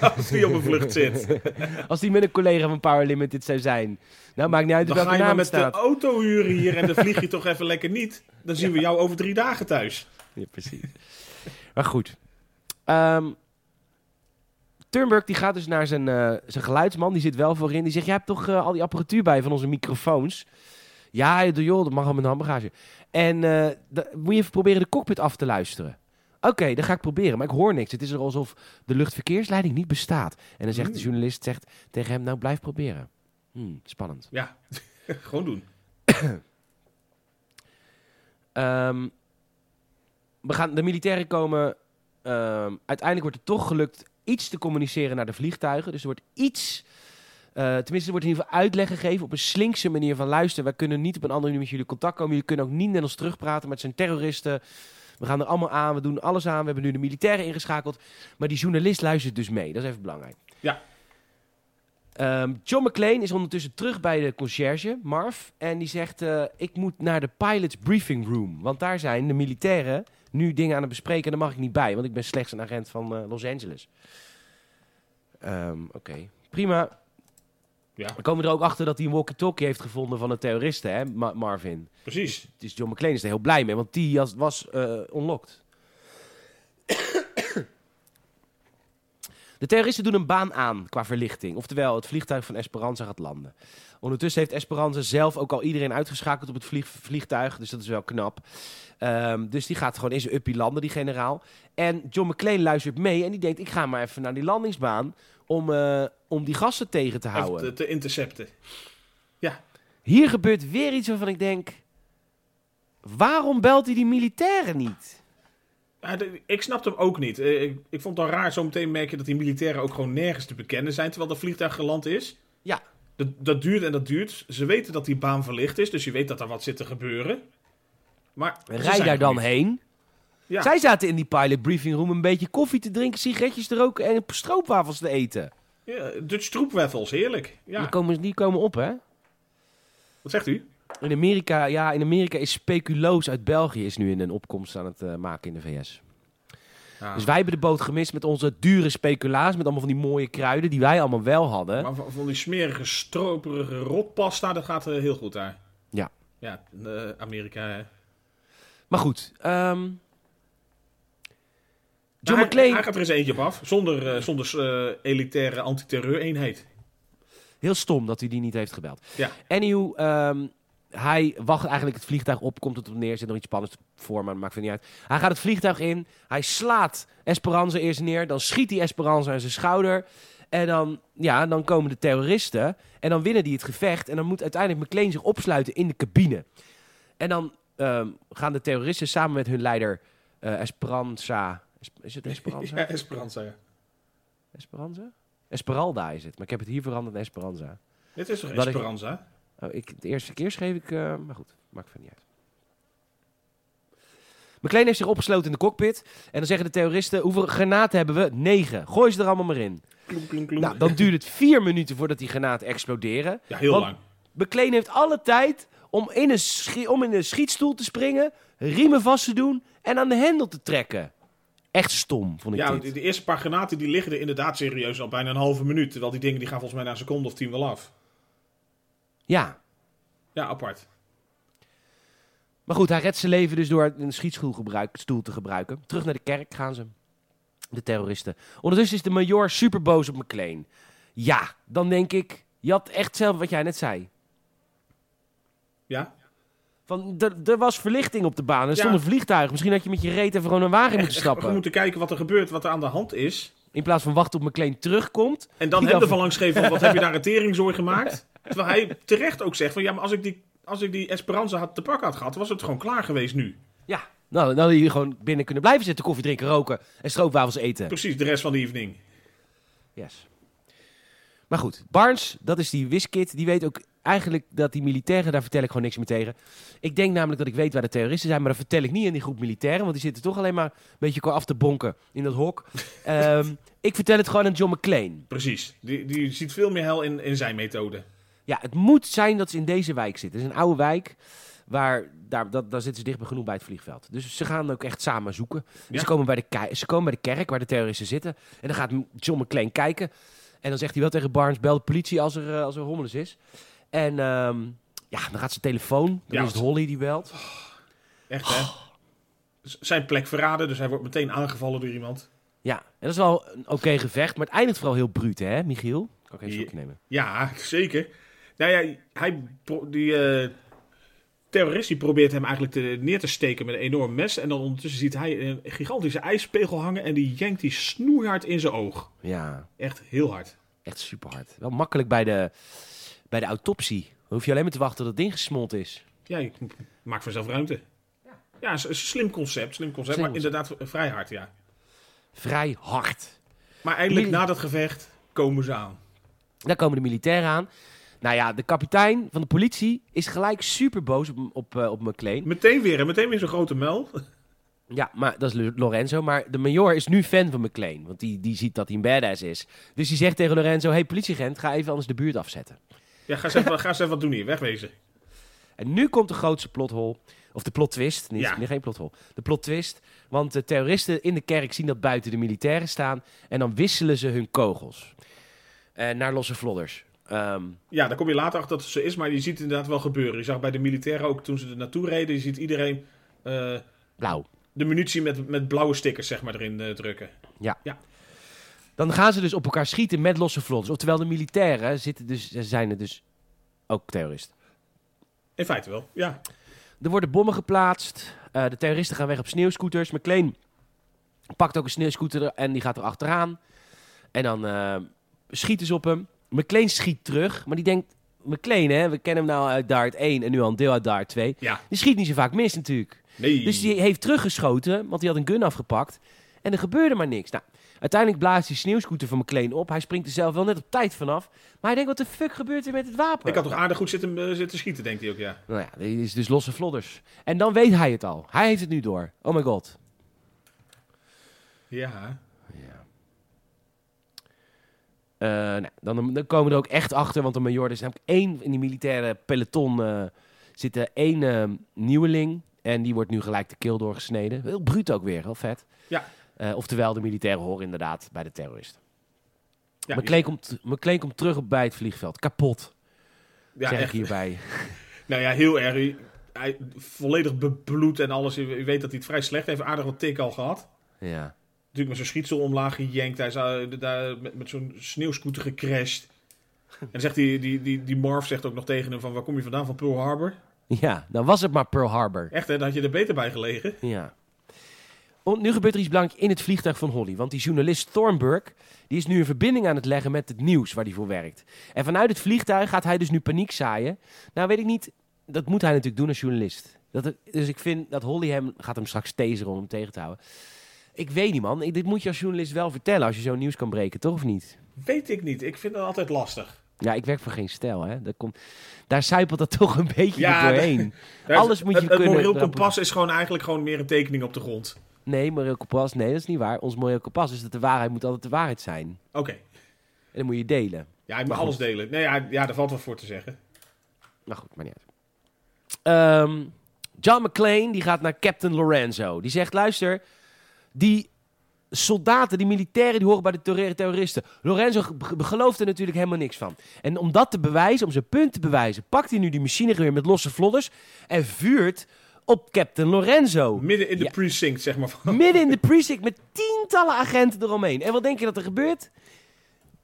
Speaker 2: Als die op een vlucht zit.
Speaker 1: Als die met een collega van Power Limited zou zijn. Nou, maakt niet uit
Speaker 2: Dan
Speaker 1: welke
Speaker 2: ga je maar
Speaker 1: naam het
Speaker 2: met de
Speaker 1: staat.
Speaker 2: auto huren hier en dan vlieg je toch even lekker niet. Dan zien we jou over drie dagen thuis.
Speaker 1: Ja, precies. maar goed. Ehm Turnberg die gaat dus naar zijn, eh, zijn geluidsman. Die zit wel voorin. Die zegt, jij hebt toch eh, al die apparatuur bij van onze microfoons? Ja, joh, joh, dat mag al met een handbagage. En eh, da- moet je even proberen de cockpit af te luisteren. Oké, dat ga ik proberen, maar ik hoor niks. Het is er alsof de luchtverkeersleiding niet bestaat. En dan zegt de
Speaker 2: Hmm.
Speaker 1: journalist zegt tegen hem, nou blijf proberen. Hmm, spannend.
Speaker 2: Ja, gewoon doen.
Speaker 1: Ehm, we gaan, de militairen komen. ehm, uiteindelijk wordt het toch gelukt iets te communiceren naar de vliegtuigen. Dus er wordt iets. eh, tenminste, er wordt in ieder geval uitleg gegeven op een slinkse manier van luisteren. Wij kunnen niet op een andere manier met jullie contact komen. Jullie kunnen ook niet met ons terugpraten, maar het zijn terroristen. We gaan er allemaal aan, we doen alles aan. We hebben nu de militairen ingeschakeld. Maar die journalist luistert dus mee. Dat is even belangrijk.
Speaker 2: Ja.
Speaker 1: Ehm, John McClane is ondertussen terug bij de conciërge, Marv. En die zegt, eh, ik moet naar de pilots briefing room. Want daar zijn de militairen nu dingen aan het bespreken. En daar mag ik niet bij, want ik ben slechts een agent van eh, Los Angeles. Ehm, Oké, prima.
Speaker 2: Ja.
Speaker 1: We komen er ook achter dat hij een walkie-talkie heeft gevonden van de terroristen, hè, Ma- Marvin.
Speaker 2: Precies.
Speaker 1: Dus John McClane is er heel blij mee, want die jas was eh unlocked. De terroristen doen een baan aan qua verlichting. Oftewel, het vliegtuig van Esperanza gaat landen. Ondertussen heeft Esperanza zelf ook al iedereen uitgeschakeld op het vlieg- vliegtuig. Dus dat is wel knap. Ehm, dus die gaat gewoon in zijn uppie landen, die generaal. En John McClane luistert mee en die denkt... ik ga maar even naar die landingsbaan om, eh, om die gasten tegen te
Speaker 2: Of
Speaker 1: houden.
Speaker 2: te, te intercepten.
Speaker 1: Hier gebeurt weer iets waarvan ik denk... Waarom belt hij die militairen niet?
Speaker 2: Ja, de- ik snapte hem ook niet. Eh, Ik, ik vond het al raar. Zometeen merk je dat die militairen ook gewoon nergens te bekennen zijn terwijl dat vliegtuig geland is.
Speaker 1: Ja.
Speaker 2: Dat, dat duurt en dat duurt. Ze weten dat die baan verlicht is, dus je weet dat er wat zit te gebeuren. Maar ze
Speaker 1: Rij
Speaker 2: zijn
Speaker 1: daar
Speaker 2: er
Speaker 1: dan
Speaker 2: niet.
Speaker 1: heen.
Speaker 2: Ja.
Speaker 1: Zij zaten in die pilot briefing room een beetje koffie te drinken, sigaretjes te roken en stroopwafels te eten.
Speaker 2: Ja, Dutch stroopwafels, heerlijk. Ja.
Speaker 1: Die, komen, die komen op, hè?
Speaker 2: Wat zegt u?
Speaker 1: In Amerika, ja, in Amerika is speculoos uit België is nu in een opkomst aan het eh, maken in de VS.
Speaker 2: Ah.
Speaker 1: Dus wij hebben de boot gemist met onze dure speculaas, met allemaal van die mooie kruiden die wij allemaal wel hadden.
Speaker 2: Maar van, van die smerige, stroperige rotpasta, dat gaat eh, heel goed daar.
Speaker 1: Ja.
Speaker 2: Ja, eh, Amerika. hè.
Speaker 1: Maar goed, ehm, John
Speaker 2: Maar hij,
Speaker 1: McClane...
Speaker 2: hij gaat er eens eentje op af, zonder, eh, zonder eh, elitaire antiterreureenheid.
Speaker 1: Heel stom dat hij die niet heeft gebeld.
Speaker 2: Ja.
Speaker 1: Anywho, ehm, hij wacht eigenlijk het vliegtuig op, komt het op neer, zit nog iets spannends voor, maar dat maakt het niet uit. Hij gaat het vliegtuig in, hij slaat Esperanza eerst neer, dan schiet hij Esperanza aan zijn schouder. En dan, ja, dan komen de terroristen en dan winnen die het gevecht. En dan moet uiteindelijk McLean zich opsluiten in de cabine. En dan ehm, gaan de terroristen samen met hun leider eh, Esperanza... Is het Esperanza?
Speaker 2: Ja, Esperanza, ja.
Speaker 1: Esperanza? Esperalda is het, maar ik heb het hier veranderd naar Esperanza.
Speaker 2: Dit is toch
Speaker 1: Dat ik-
Speaker 2: Esperanza?
Speaker 1: Oh, ik, de eerste keer schreef ik, eh, maar goed, maakt van niet uit. McLean heeft zich opgesloten in de cockpit. En dan zeggen de terroristen, hoeveel granaten hebben we? Negen. Gooi ze er allemaal maar in.
Speaker 2: Kloem, kloem, kloem.
Speaker 1: Nou, dan duurt het vier minuten voordat die granaten exploderen.
Speaker 2: ja, heel
Speaker 1: want-
Speaker 2: lang.
Speaker 1: McLean heeft alle tijd om in, een schi- om in een schietstoel te springen, riemen vast te doen en aan de hendel te trekken. Echt stom, vond ik
Speaker 2: Ja,
Speaker 1: dit.
Speaker 2: de, de eerste paar granaten die liggen er inderdaad serieus al bijna een halve minuut. Terwijl die dingen die gaan volgens mij na een seconde of tien wel af.
Speaker 1: Ja,
Speaker 2: Ja, apart.
Speaker 1: Maar goed, hij redt zijn leven dus door een schietschoolstoel te gebruiken. Terug naar de kerk gaan ze. De terroristen. Ondertussen is de major super boos op McLean. Ja, dan denk ik, je had echt zelf wat jij net zei.
Speaker 2: Ja?
Speaker 1: Van, er- er was verlichting op de baan. Er
Speaker 2: Ja.
Speaker 1: stond een vliegtuig. Misschien had je met je reet even gewoon een wagen moeten
Speaker 2: We
Speaker 1: stappen.
Speaker 2: moeten kijken wat er gebeurt, wat er aan de hand is.
Speaker 1: In plaats van wachten op McLean terugkomt.
Speaker 2: En dan
Speaker 1: Die
Speaker 2: hem
Speaker 1: dan-
Speaker 2: ervan langs geven van wat heb je daar een teringzooi gemaakt? Terwijl hij terecht ook zegt van ja, maar als ik die, als ik die Esperanza had te pakken had gehad, was het gewoon klaar geweest nu.
Speaker 1: Ja, nou, dan hadden jullie gewoon binnen kunnen blijven zitten. Koffie drinken, roken en stroopwafels eten.
Speaker 2: Precies, de rest van de evening.
Speaker 1: Yes. Maar goed, Barnes, dat is die wiskit. Die weet ook eigenlijk dat die militairen, daar vertel ik gewoon niks meer tegen. Ik denk namelijk dat ik weet waar de terroristen zijn, maar dat vertel ik niet aan die groep militairen, want die zitten toch alleen maar een beetje elkaar af te bonken in dat hok. Ehm, ik vertel het gewoon aan John McClane.
Speaker 2: Precies. Die, die ziet veel meer hel in, in zijn methode.
Speaker 1: Ja, het moet zijn dat ze in deze wijk zitten. Het is een oude wijk. Waar, daar, dat, daar zitten ze dicht bij genoeg bij het vliegveld. Dus ze gaan ook echt samen zoeken. En
Speaker 2: Ja.
Speaker 1: Ze, komen bij de kei- ze komen bij de kerk waar de terroristen zitten. En dan gaat John McClane kijken. En dan zegt hij wel tegen Barnes: bel de politie als er, eh, als er hommeles is. En ehm, ja, dan gaat zijn telefoon. Dan is
Speaker 2: Ja,
Speaker 1: het
Speaker 2: want-
Speaker 1: Holly die belt.
Speaker 2: Echt hè?
Speaker 1: Oh.
Speaker 2: Z- Zijn plek verraden, dus hij wordt meteen aangevallen door iemand.
Speaker 1: Ja, en dat is wel een oké gevecht. Maar het eindigt vooral heel bruut, hè, Michiel? Kan ik even een
Speaker 2: Ja.
Speaker 1: slokje nemen?
Speaker 2: Ja, zeker. Nou ja, hij, pro- die eh, terrorist die probeert hem eigenlijk te, neer te steken met een enorm mes. En dan ondertussen ziet hij een gigantische ijspegel hangen en die jenkt die snoeihard in zijn oog.
Speaker 1: Ja,
Speaker 2: Echt heel hard.
Speaker 1: echt super hard. Wel makkelijk bij de, bij de autopsie. Dan hoef je alleen maar te wachten tot het ding gesmolten is.
Speaker 2: Ja, je maakt vanzelf ruimte. Ja, is is een slim concept, slim concept,
Speaker 1: Slim
Speaker 2: maar inderdaad vrij hard, ja.
Speaker 1: vrij hard.
Speaker 2: Maar eindelijk
Speaker 1: Mili-
Speaker 2: na dat gevecht komen ze aan.
Speaker 1: Daar komen de militairen aan. Nou ja, de kapitein van de politie is gelijk super boos op, op, eh, op McLean.
Speaker 2: Meteen weer, en meteen weer zo'n grote mel.
Speaker 1: Ja, maar dat is Lo- Lorenzo. Maar de major is nu fan van McLean. Want die, die ziet dat hij een badass is. Dus die zegt tegen Lorenzo: hey, politieagent, ga even anders de buurt afzetten.
Speaker 2: Ja, ga eens even, ga eens even wat doen hier, wegwezen.
Speaker 1: En nu komt de grootste plothol. Of de plot twist. Niet,
Speaker 2: Ja.
Speaker 1: nee, geen plothol. De plot twist. Want de terroristen in de kerk zien dat buiten de militairen staan. En dan wisselen ze hun kogels. Eh, naar losse vlodders. Ehm,
Speaker 2: Ja, daar kom je later achter dat het zo is, maar je ziet het inderdaad wel gebeuren. Je zag bij de militairen ook toen ze er naartoe reden, je ziet iedereen eh,
Speaker 1: blauw.
Speaker 2: de munitie met, met blauwe stickers zeg maar, erin eh, drukken.
Speaker 1: Dan gaan ze dus op elkaar schieten met losse vlodders. Oftewel, de militairen zitten dus, zijn er dus ook terroristen.
Speaker 2: In feite wel, ja.
Speaker 1: Er worden bommen geplaatst. Eh, de terroristen gaan weg op sneeuwscooters. McLean pakt ook een sneeuwscooter en die gaat er achteraan. En dan eh, schieten ze op hem. McLean schiet terug, maar die denkt... McLean, hè, we kennen hem nou uit Dart 1 en nu al een deel uit Dart 2.
Speaker 2: Ja,
Speaker 1: Die schiet niet zo vaak mis natuurlijk.
Speaker 2: nee.
Speaker 1: Dus die heeft teruggeschoten, want die had een gun afgepakt. En er gebeurde maar niks. Nou, uiteindelijk blaast die sneeuwscooter van McLean op. Hij springt er zelf wel net op tijd vanaf. Maar hij denkt, wat de fuck gebeurt er met het wapen?
Speaker 2: Ik had toch aardig goed zitten, eh, zitten schieten, denkt hij ook, ja.
Speaker 1: Nou ja, dit is dus losse vlodders. En dan weet hij het al. Hij heeft het nu door. Oh my god.
Speaker 2: Ja,
Speaker 1: Eh, nou, dan, dan komen we er ook echt achter, want de major er is namelijk één in die militaire peloton eh, zit er één eh, nieuweling. En die wordt nu gelijk de keel doorgesneden. Heel bruut ook weer, heel vet.
Speaker 2: Ja.
Speaker 1: Eh, oftewel, de militairen horen inderdaad bij de terroristen.
Speaker 2: ja,
Speaker 1: McLean, komt, McLean komt terug op bij het vliegveld. Kapot,
Speaker 2: ja,
Speaker 1: zeg
Speaker 2: echt.
Speaker 1: ik hierbij.
Speaker 2: Nou ja, heel erg. Hij- Hij, volledig bebloed en alles. Je je weet dat hij het vrij slecht heeft. Aardig wat tik al gehad.
Speaker 1: ja.
Speaker 2: Natuurlijk met zo'n schietsel omlaag gejankt. Hij is eh, daar met, met zo'n sneeuwscooter gecrashed. En dan zegt die, die, die, die Marv zegt ook nog tegen hem van... Waar kom je vandaan? Van Pearl Harbor?
Speaker 1: ja, dan was het maar Pearl Harbor.
Speaker 2: Echt hè, daar had je er beter bij gelegen.
Speaker 1: Ja. Want nu gebeurt er iets belangrijks in het vliegtuig van Holly. Want die journalist Thornburg die is nu een verbinding aan het leggen met het nieuws waar hij voor werkt. En vanuit het vliegtuig gaat hij dus nu paniek zaaien. Nou weet ik niet, dat moet hij natuurlijk doen als journalist. Dat, dus ik vind dat Holly hem, gaat hem straks taseren om hem tegen te houden. Ik weet niet man, Ik- dit moet je als journalist wel vertellen als je zo'n nieuws kan breken, toch of niet?
Speaker 2: Weet ik niet. Ik vind dat altijd lastig.
Speaker 1: Ja, ik werk voor geen stijl hè. Daar, komt, daar zijpelt dat toch een beetje
Speaker 2: Ja,
Speaker 1: doorheen.
Speaker 2: Daar
Speaker 1: Alles
Speaker 2: is-
Speaker 1: moet je
Speaker 2: het, het
Speaker 1: kunnen
Speaker 2: moreel
Speaker 1: rappen.
Speaker 2: kompas is gewoon eigenlijk gewoon meer een tekening op de grond.
Speaker 1: Nee, moreel kompas, nee dat is niet waar. Ons moreel kompas is dat de waarheid moet altijd de waarheid zijn.
Speaker 2: Oké.
Speaker 1: En dan moet je delen.
Speaker 2: Ja, ik
Speaker 1: Maar
Speaker 2: mag
Speaker 1: goed.
Speaker 2: alles delen. Nee, ja, ja, daar valt wat voor te zeggen.
Speaker 1: Maar goed, maar niet uit. Ehm, John McClane die gaat naar Captain Lorenzo. Die zegt, luister, die soldaten, die militairen, die horen bij de terror- terroristen. Lorenzo ge- be- gelooft er natuurlijk helemaal niks van. En om dat te bewijzen, om zijn punt te bewijzen, pakt hij nu die machinegeweer met losse vlodders en vuurt op Captain Lorenzo.
Speaker 2: Midden in de
Speaker 1: Ja.
Speaker 2: precinct, zeg maar. Van.
Speaker 1: Midden in de precinct met tientallen agenten eromheen. En wat denk je dat er gebeurt?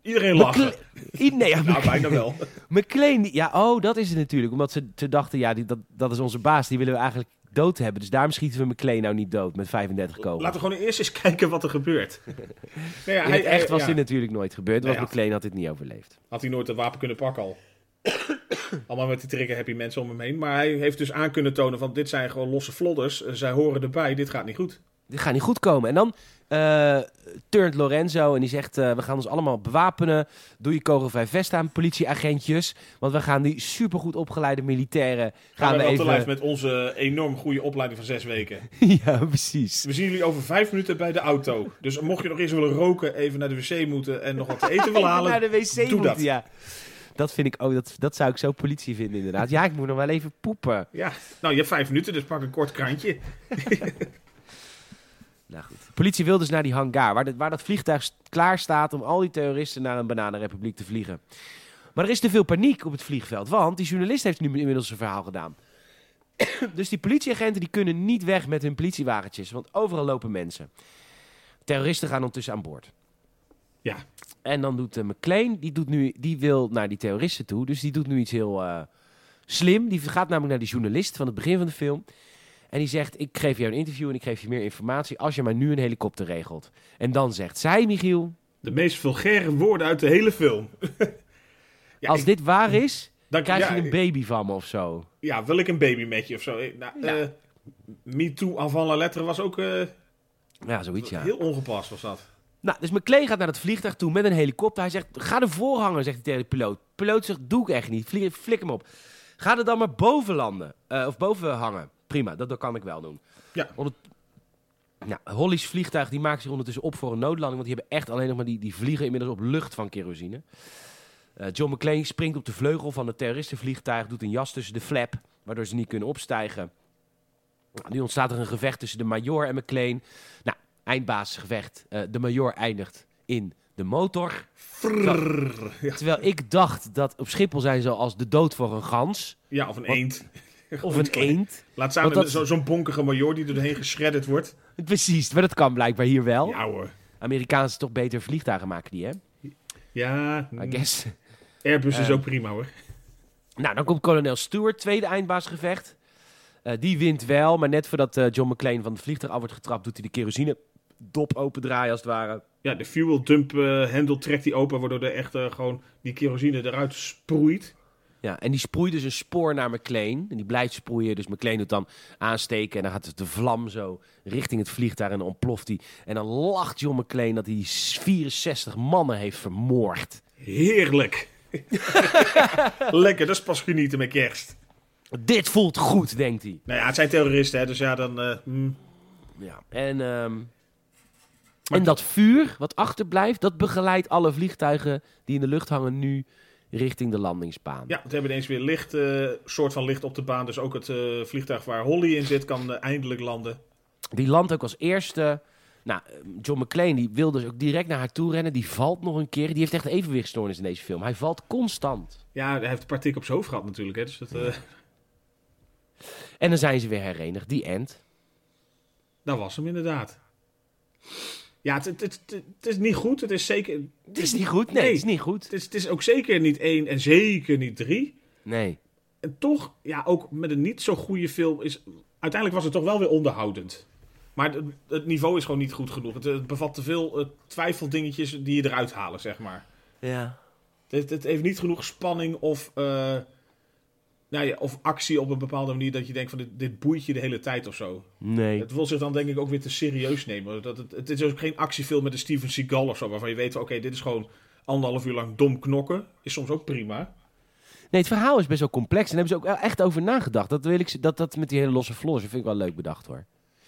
Speaker 2: Iedereen lachen.
Speaker 1: McCla- I- nee, ja,
Speaker 2: Nou, bijna wel.
Speaker 1: McLean, die- ja, oh, dat is het natuurlijk. Omdat ze, ze dachten, ja, die, dat, dat is onze baas, die willen we eigenlijk dood hebben. Dus daarom schieten we McLean nou niet dood met 35 kogels.
Speaker 2: Laten we gewoon eerst eens kijken wat er gebeurt. Nou ja,
Speaker 1: Oh. In het echt was
Speaker 2: ja,
Speaker 1: dit natuurlijk nooit gebeurd, want
Speaker 2: Nou ja.
Speaker 1: McLean had dit niet overleefd.
Speaker 2: Had hij nooit dat wapen kunnen pakken al. Allemaal met die trigger happy mensen om hem heen. Maar hij heeft dus aan kunnen tonen van dit zijn gewoon losse vlodders. Eh, Zij horen erbij, dit gaat niet goed.
Speaker 1: Dit gaat niet goed komen. En dan eh turnt Lorenzo en die zegt, eh, we gaan ons allemaal bewapenen. Doe je kogelvrij vest aan, politieagentjes. Want we gaan die supergoed opgeleide militairen...
Speaker 2: Gaan, we wel te lijf
Speaker 1: even...
Speaker 2: met onze enorm goede opleiding van zes weken.
Speaker 1: ja, precies.
Speaker 2: We zien jullie over vijf minuten bij de auto. Dus mocht je nog eens willen roken, even naar de wc moeten en nog wat te eten willen
Speaker 1: Even
Speaker 2: halen.
Speaker 1: naar de wc
Speaker 2: doe
Speaker 1: moeten,
Speaker 2: dat.
Speaker 1: ja. Dat vind ik ook, dat, dat zou ik zo politie vinden inderdaad. Ja, ik moet nog wel even poepen.
Speaker 2: Ja, nou je hebt vijf minuten, dus pak een kort krantje.
Speaker 1: Nou goed. De politie wil dus naar die hangar, waar, dat- waar dat vliegtuig s- klaar staat om al die terroristen naar een bananenrepubliek te vliegen. Maar er is te veel paniek op het vliegveld, want die journalist heeft nu inmiddels zijn verhaal gedaan. dus die politieagenten die kunnen niet weg met hun politiewagentjes, want overal lopen mensen. Terroristen gaan ondertussen aan boord.
Speaker 2: Ja.
Speaker 1: En dan doet eh, McLean, die, doet nu, die wil naar die terroristen toe, dus die doet nu iets heel eh, slim. Die gaat namelijk naar die journalist van het begin van de film. En die zegt: Ik geef jou een interview en ik geef je meer informatie als je maar nu een helikopter regelt. En dan zegt zij, Michiel:
Speaker 2: De meest vulgaire woorden uit de hele film. Ja,
Speaker 1: Als
Speaker 2: ik-
Speaker 1: dit waar is,
Speaker 2: dan
Speaker 1: krijg
Speaker 2: ja,
Speaker 1: je een baby van me of zo.
Speaker 2: Ja, wil ik een baby met je of zo? Eh, Nou,
Speaker 1: Ja.
Speaker 2: eh, Me Too avant la lettre was ook eh,
Speaker 1: Ja, zoiets ja.
Speaker 2: heel ongepast was dat.
Speaker 1: Nou, dus McLean gaat naar het vliegtuig toe met een helikopter. Hij zegt, ga ervoor hangen, zegt hij tegen de piloot. De piloot zegt, doe ik echt niet. Vlieg, flik hem op. Ga er dan maar boven landen. eh, of boven hangen. Prima, dat, dat kan ik wel doen.
Speaker 2: Ja.
Speaker 1: Onder- nou, Holly's vliegtuig die maakt zich ondertussen op voor een noodlanding. Want die hebben echt alleen nog maar die, die vliegen inmiddels op lucht van kerosine. Eh, John McClane springt op de vleugel van het terroristenvliegtuig. Doet een jas tussen de flap, waardoor ze niet kunnen opstijgen. Nou, nu ontstaat er een gevecht tussen de major en McClane. Nou, eindbaasgevecht. Eh, de major eindigt in de motor.
Speaker 2: Frrrr. Ja.
Speaker 1: Terwijl ik dacht dat op Schiphol zijn ze als de dood voor een gans.
Speaker 2: Ja, of een
Speaker 1: Wat-
Speaker 2: eend.
Speaker 1: Of een eend.
Speaker 2: Laat samen
Speaker 1: Want
Speaker 2: met zo- zo'n bonkige major die er doorheen geschredderd wordt.
Speaker 1: Precies, maar dat kan blijkbaar hier wel.
Speaker 2: Ja hoor.
Speaker 1: Amerikaanse toch beter vliegtuigen maken die, hè?
Speaker 2: Ja, mm,
Speaker 1: I guess.
Speaker 2: Airbus is
Speaker 1: Eh.
Speaker 2: ook prima hoor.
Speaker 1: Nou, dan komt kolonel Stewart, tweede eindbaasgevecht. Eh, die wint wel, maar net voordat eh, John McClane van het vliegtuig af wordt getrapt, doet hij de kerosine dop opendraaien als het ware.
Speaker 2: Ja, de fuel dump eh, hendel trekt die open, waardoor er echt eh, gewoon die kerosine eruit sproeit.
Speaker 1: Ja, en die sproeit dus een spoor naar McLean. En die blijft sproeien. Dus McLean doet dan aansteken. En dan gaat dus de vlam zo richting het vliegtuig. En dan ontploft die. En dan lacht John McLean dat hij die 64 mannen heeft vermoord.
Speaker 2: Heerlijk. Lekker, dat is pas genieten met kerst.
Speaker 1: Dit voelt goed, denkt hij.
Speaker 2: Nou ja, het zijn terroristen, hè, dus ja, dan... eh, hmm.
Speaker 1: Ja. En, ehm, en dat vuur wat achterblijft, dat begeleidt alle vliegtuigen die in de lucht hangen nu richting de landingsbaan.
Speaker 2: Ja, we hebben ineens weer licht, eh, soort van licht op de baan. Dus ook het eh, vliegtuig waar Holly in zit kan eh, eindelijk landen.
Speaker 1: Die landt ook als eerste. Nou, John McClane die wil dus ook direct naar haar toe rennen. Die valt nog een keer. Die heeft echt evenwichtstoornis in deze film. Hij valt constant.
Speaker 2: Ja, hij heeft een paar tikken op zijn hoofd gehad natuurlijk. Hè, dus dat, eh,
Speaker 1: En dan zijn ze weer herenigd. Die end.
Speaker 2: dat was hem inderdaad. Ja, het, het, het, het is niet goed. Het is zeker...
Speaker 1: Het is niet goed. Nee,
Speaker 2: Nee.
Speaker 1: het is niet goed.
Speaker 2: Het is, het is ook zeker niet één en zeker niet drie.
Speaker 1: Nee.
Speaker 2: En toch, ja, ook met een niet zo goede film is... Uiteindelijk was het toch wel weer onderhoudend. Maar het, het niveau is gewoon niet goed genoeg. Het, het bevat te veel eh, twijfeldingetjes die je eruit halen, zeg maar.
Speaker 1: Ja.
Speaker 2: Het, het heeft niet genoeg spanning of, eh, nou ja, of actie op een bepaalde manier... dat je denkt van dit, dit boeit je de hele tijd of zo.
Speaker 1: Nee.
Speaker 2: Het wil zich dan denk ik ook weer te serieus nemen. Dat het, het is ook geen actiefilm met een Steven Seagal of zo... waarvan je weet, oké, dit is gewoon anderhalf uur lang dom knokken. Is soms ook prima.
Speaker 1: Nee, het verhaal is best wel complex. En daar hebben ze ook wel echt over nagedacht. Dat, wil ik, ze- dat, dat met die hele losse floors. Dat vind ik wel leuk bedacht hoor.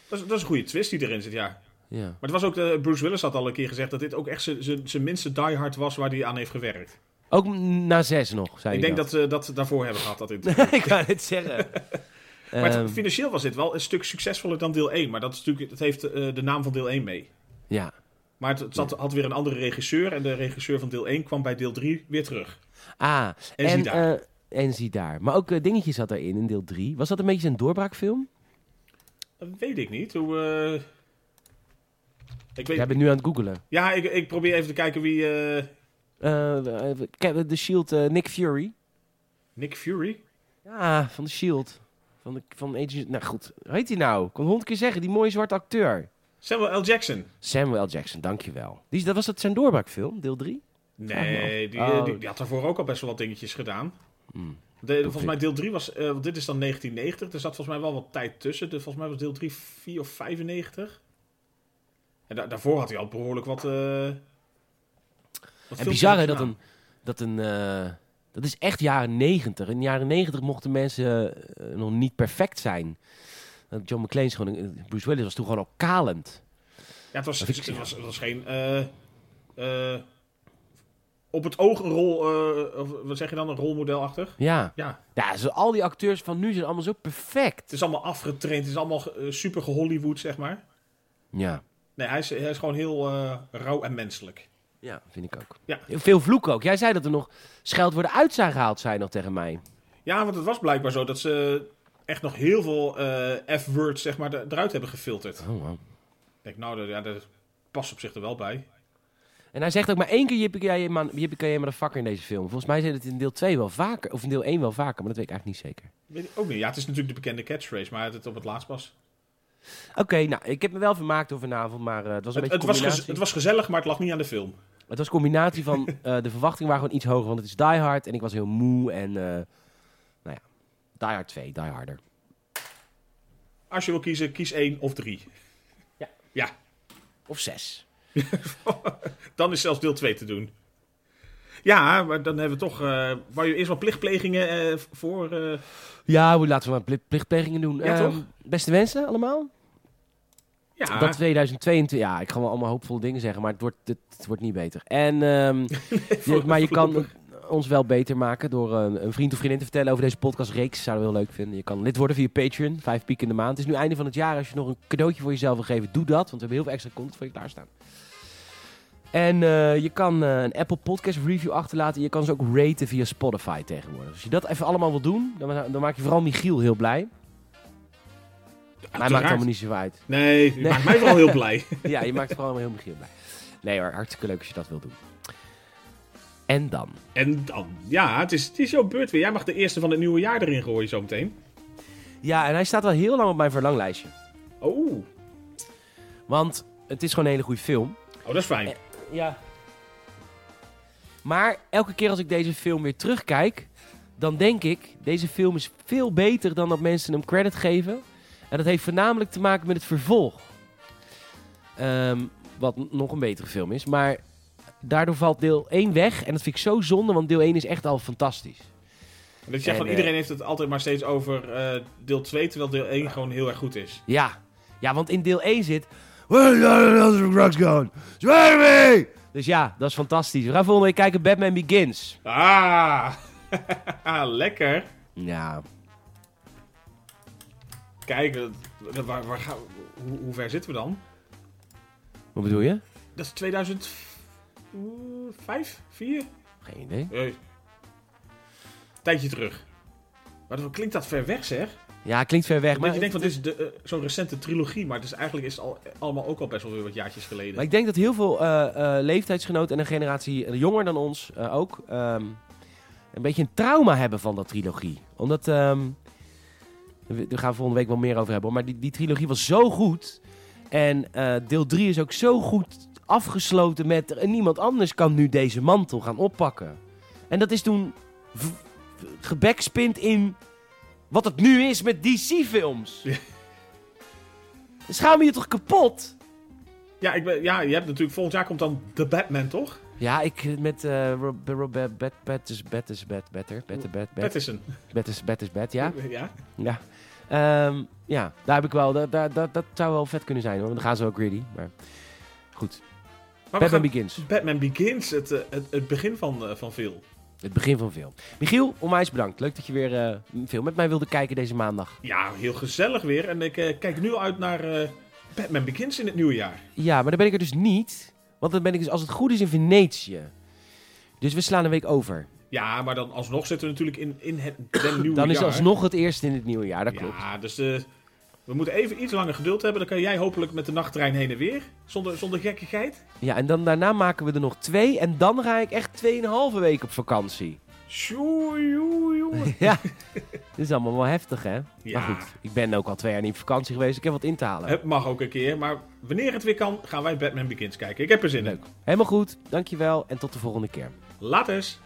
Speaker 2: Dat is, dat is een goede twist die erin zit, ja.
Speaker 1: Ja.
Speaker 2: Maar het was ook, eh, Bruce Willis had al een keer gezegd dat dit ook echt zijn- zijn zijn minste diehard was waar hij aan heeft gewerkt.
Speaker 1: Ook m- na zes nog, zei
Speaker 2: ik
Speaker 1: hij
Speaker 2: denk dat ze dat daarvoor hebben gehad. Dat interview.
Speaker 1: dat... ik kan het zeggen.
Speaker 2: maar
Speaker 1: Ehm,
Speaker 2: het- financieel was dit wel een stuk succesvoller dan deel 1. Maar dat, is natuurlijk, dat heeft eh, de naam van deel 1 mee.
Speaker 1: ja.
Speaker 2: Maar het, het zat, had weer een andere regisseur. En de regisseur van deel 1 kwam bij deel 3 weer terug.
Speaker 1: Ah.
Speaker 2: En zie daar.
Speaker 1: eh, en zie daar. Maar ook eh, dingetjes zat daarin, in deel drie. Was dat een beetje zijn doorbraakfilm?
Speaker 2: Dat weet ik niet. Hoe, eh, Ik weet,
Speaker 1: Jij bent nu aan het googelen.
Speaker 2: Ja, ik, ik probeer even te kijken wie... eh,
Speaker 1: Eh, eh, Cap- de Shield, eh, Nick Fury.
Speaker 2: Nick Fury?
Speaker 1: Ja, van de Shield. Van, de, van Agent... Nou goed, hoe heet hij nou? Ik kon honderd keer zeggen, die mooie zwarte acteur.
Speaker 2: Samuel L. Jackson?
Speaker 1: Samuel L. Jackson, dankjewel. Die, is- dat was dat zijn doorbraakfilm, deel 3?
Speaker 2: Nee, die,
Speaker 1: Oh.
Speaker 2: die, die had daarvoor ook al best wel wat dingetjes gedaan.
Speaker 1: Hmm.
Speaker 2: De- volgens mij deel 3 was, eh, want dit is dan 1990, er zat volgens mij wel wat tijd tussen. Dus volgens mij was deel 3 4 of 95. En da- daarvoor had hij al behoorlijk wat... eh, wat
Speaker 1: En
Speaker 2: filmpjes
Speaker 1: bizar hè, dat
Speaker 2: gedaan.
Speaker 1: een... Dat, een eh, dat is echt jaren 90. In de jaren 90 mochten mensen eh, nog niet perfect zijn. Eh, John McClane is gewoon... een- Bruce Willis was toen gewoon al kalend.
Speaker 2: Ja, het was,
Speaker 1: dat
Speaker 2: het,
Speaker 1: ik-
Speaker 2: was, het was geen... eh, eh, op het oog een rol... eh, of, wat zeg je dan? Een rolmodelachtig?
Speaker 1: Ja.
Speaker 2: Ja,
Speaker 1: Ja, zo, al die acteurs van nu zijn allemaal zo perfect.
Speaker 2: het is allemaal afgetraind. Het is allemaal eh, super gehollywood, zeg maar.
Speaker 1: Ja.
Speaker 2: Nee, hij is, hij is gewoon heel eh, rauw en menselijk.
Speaker 1: Ja, vind ik ook.
Speaker 2: Ja.
Speaker 1: Veel vloek ook. Jij zei dat er nog scheldwoorden uit zijn gehaald, zei je nog tegen mij.
Speaker 2: Ja, want het was blijkbaar zo dat ze echt nog heel veel eh, F-words zeg maar, er- eruit hebben gefilterd. Ik
Speaker 1: Oh, wow.
Speaker 2: denk, nou, dat, ja, dat past op zich er wel bij.
Speaker 1: En hij zegt ook maar één keer Yippie-ki-yay, man- Yippie-ki-yay, motherfucker in deze film. Volgens mij zei het in deel 2 wel vaker, of in deel 1 wel vaker, maar dat weet ik eigenlijk niet zeker.
Speaker 2: Weet ik ook niet. Ja, het is natuurlijk de bekende catchphrase, maar het op het laatst pas.
Speaker 1: Oké, nou, ik heb me wel vermaakt over vanavond, maar eh, het was een
Speaker 2: Het, het,
Speaker 1: beetje
Speaker 2: was
Speaker 1: combinatie.
Speaker 2: gez- het was gezellig, maar het lag niet aan de film.
Speaker 1: Het was een combinatie van, eh, de verwachtingen waren gewoon iets hoger, want het is Die Hard en ik was heel moe en, eh, nou ja, Die Hard 2, Die Harder.
Speaker 2: Als je wil kiezen, kies één of drie.
Speaker 1: Ja.
Speaker 2: Ja,
Speaker 1: Of 6.
Speaker 2: dan is zelfs deel 2 te doen. Ja, maar dan hebben we toch. eh waar je eerst wel plichtplegingen eh, voor. eh,
Speaker 1: Ja, hoe- laten we maar pli- plichtplegingen doen.
Speaker 2: Ja,
Speaker 1: Ehm,
Speaker 2: toch?
Speaker 1: Beste wensen allemaal.
Speaker 2: ja,
Speaker 1: Dat 2022, ja, ik ga wel allemaal hoopvolle dingen zeggen, maar het wordt, het, het wordt niet beter. En, ehm, je- maar je kan
Speaker 2: voorlopig.
Speaker 1: ons wel beter maken door een, een vriend of vriendin te vertellen over deze podcastreeks. Zouden we heel leuk vinden. Je kan lid worden via Patreon, vijf piek in de maand. Het is nu einde van het jaar. Als je nog een cadeautje voor jezelf wil geven, doe dat. Want we hebben heel veel extra content voor je klaarstaan. En eh, je kan eh, een Apple Podcast review achterlaten. Je kan ze ook raten via Spotify tegenwoordig. Dus als je dat even allemaal wil doen, dan, dan maak je vooral Michiel heel blij. Maar hij maakt
Speaker 2: Uiteraard.
Speaker 1: allemaal niet zo uit.
Speaker 2: Nee, je maakt mij vooral heel blij.
Speaker 1: Ja, je maakt vooral heel Michiel blij. Nee hoor, hartstikke leuk als je dat wil doen. En dan?
Speaker 2: En dan, ja, het is, het is jouw beurt weer. Jij mag de eerste van het nieuwe jaar erin gooien zometeen.
Speaker 1: Ja, en hij staat al heel lang op mijn verlanglijstje.
Speaker 2: Oh,
Speaker 1: Want het is gewoon een hele goede film.
Speaker 2: oh, dat is
Speaker 1: Eh,
Speaker 2: fijn.
Speaker 1: Ja. Maar elke keer als ik deze film weer terugkijk, dan denk ik, deze film is veel beter dan dat mensen hem credit geven. En dat heeft voornamelijk te maken met het vervolg. Ehm, wat n- nog een betere film is. Maar daardoor valt deel 1 weg. En dat vind ik zo zonde, want deel 1 is echt al fantastisch.
Speaker 2: Dat je zegt
Speaker 1: En,
Speaker 2: van
Speaker 1: eh,
Speaker 2: iedereen heeft het altijd maar steeds over eh, deel 2, terwijl deel 1 gewoon heel erg goed is.
Speaker 1: Ja. Ja, want in deel 1 zit... Where's the other drugs going? Swear me! Dus ja, dat is fantastisch. We gaan volgende week kijken Batman Begins.
Speaker 2: Ah, lekker.
Speaker 1: Ja.
Speaker 2: Kijk, dat- dat- waar, waar gaan we- hoe, hoe ver zitten we dan?
Speaker 1: Wat bedoel je?
Speaker 2: Dat is 2005, 4?
Speaker 1: Geen idee.
Speaker 2: Hey. Tijdje terug. Maar dan klinkt dat ver weg, zeg.
Speaker 1: Ja, klinkt ver weg.
Speaker 2: Maar
Speaker 1: Maar,
Speaker 2: je denkt, van dit is de, eh, zo'n recente trilogie, maar het is eigenlijk is het al, allemaal ook al best wel weer wat jaartjes geleden.
Speaker 1: maar ik denk dat heel veel eh, eh, leeftijdsgenoten en een generatie jonger dan ons eh, ook... ehm, een beetje een trauma hebben van dat trilogie. Omdat... ehm, we, we gaan volgende week wel meer over hebben. hoor. Maar die, die trilogie was zo goed. En eh, deel 3 is ook zo goed afgesloten met... "En Niemand anders kan nu deze mantel gaan oppakken. En dat is toen v- v- gebekspind in wat het nu is met DC-films.
Speaker 2: Ja.
Speaker 1: Schaam je toch kapot?
Speaker 2: Ja, ik ben, ja, je hebt natuurlijk, volgend jaar komt dan The Batman, toch?
Speaker 1: Ja, ik eh, met eh Rob, Rob, Bat, Bat, Bat is Bat is Bat, Better, Better, Bat, Bat,
Speaker 2: Pattinson.
Speaker 1: Bat is Bat is Bat, ja.
Speaker 2: ja.
Speaker 1: Ja. Ehm, ja, daar heb ik wel. da- da- da- dat zou wel vet kunnen zijn hoor. Want dan gaan ze wel greedy. Maar goed.
Speaker 2: Maar we
Speaker 1: Batman
Speaker 2: gaan-
Speaker 1: Begins.
Speaker 2: Batman Begins, het, eh, het, het begin van, eh, van veel.
Speaker 1: Het begin van veel. Michiel, onwijs bedankt. Leuk dat je weer eh, een film met mij wilde kijken deze maandag.
Speaker 2: Ja, heel gezellig weer. En ik eh, kijk nu al uit naar eh, Batman Begins in het nieuwe jaar.
Speaker 1: Ja, maar dan ben ik er dus niet. Want dan ben ik dus als het goed is in Venetië. Dus we slaan een week over.
Speaker 2: Ja, maar dan alsnog zitten we natuurlijk in, in het den nieuwe
Speaker 1: Dan
Speaker 2: jaar.
Speaker 1: is alsnog het eerste in het nieuwe jaar. Dat klopt.
Speaker 2: Ja, dus eh, we moeten even iets langer geduld hebben. Dan kan jij hopelijk met de nachttrein heen en weer. Zonder, zonder gekkigheid.
Speaker 1: Ja, en dan daarna maken we er nog twee. En dan ga ik echt tweeënhalve week op vakantie.
Speaker 2: Sjoe, joe, joe.
Speaker 1: ja. Dit is allemaal wel heftig, hè?
Speaker 2: Ja.
Speaker 1: Maar goed, ik ben ook al twee jaar niet op vakantie geweest. Ik heb wat in te halen.
Speaker 2: Het mag ook een keer, maar wanneer het weer kan, gaan wij Batman Begins kijken. Ik heb er zin in.
Speaker 1: Leuk. Helemaal goed. Dankjewel en tot de volgende keer.
Speaker 2: Laters.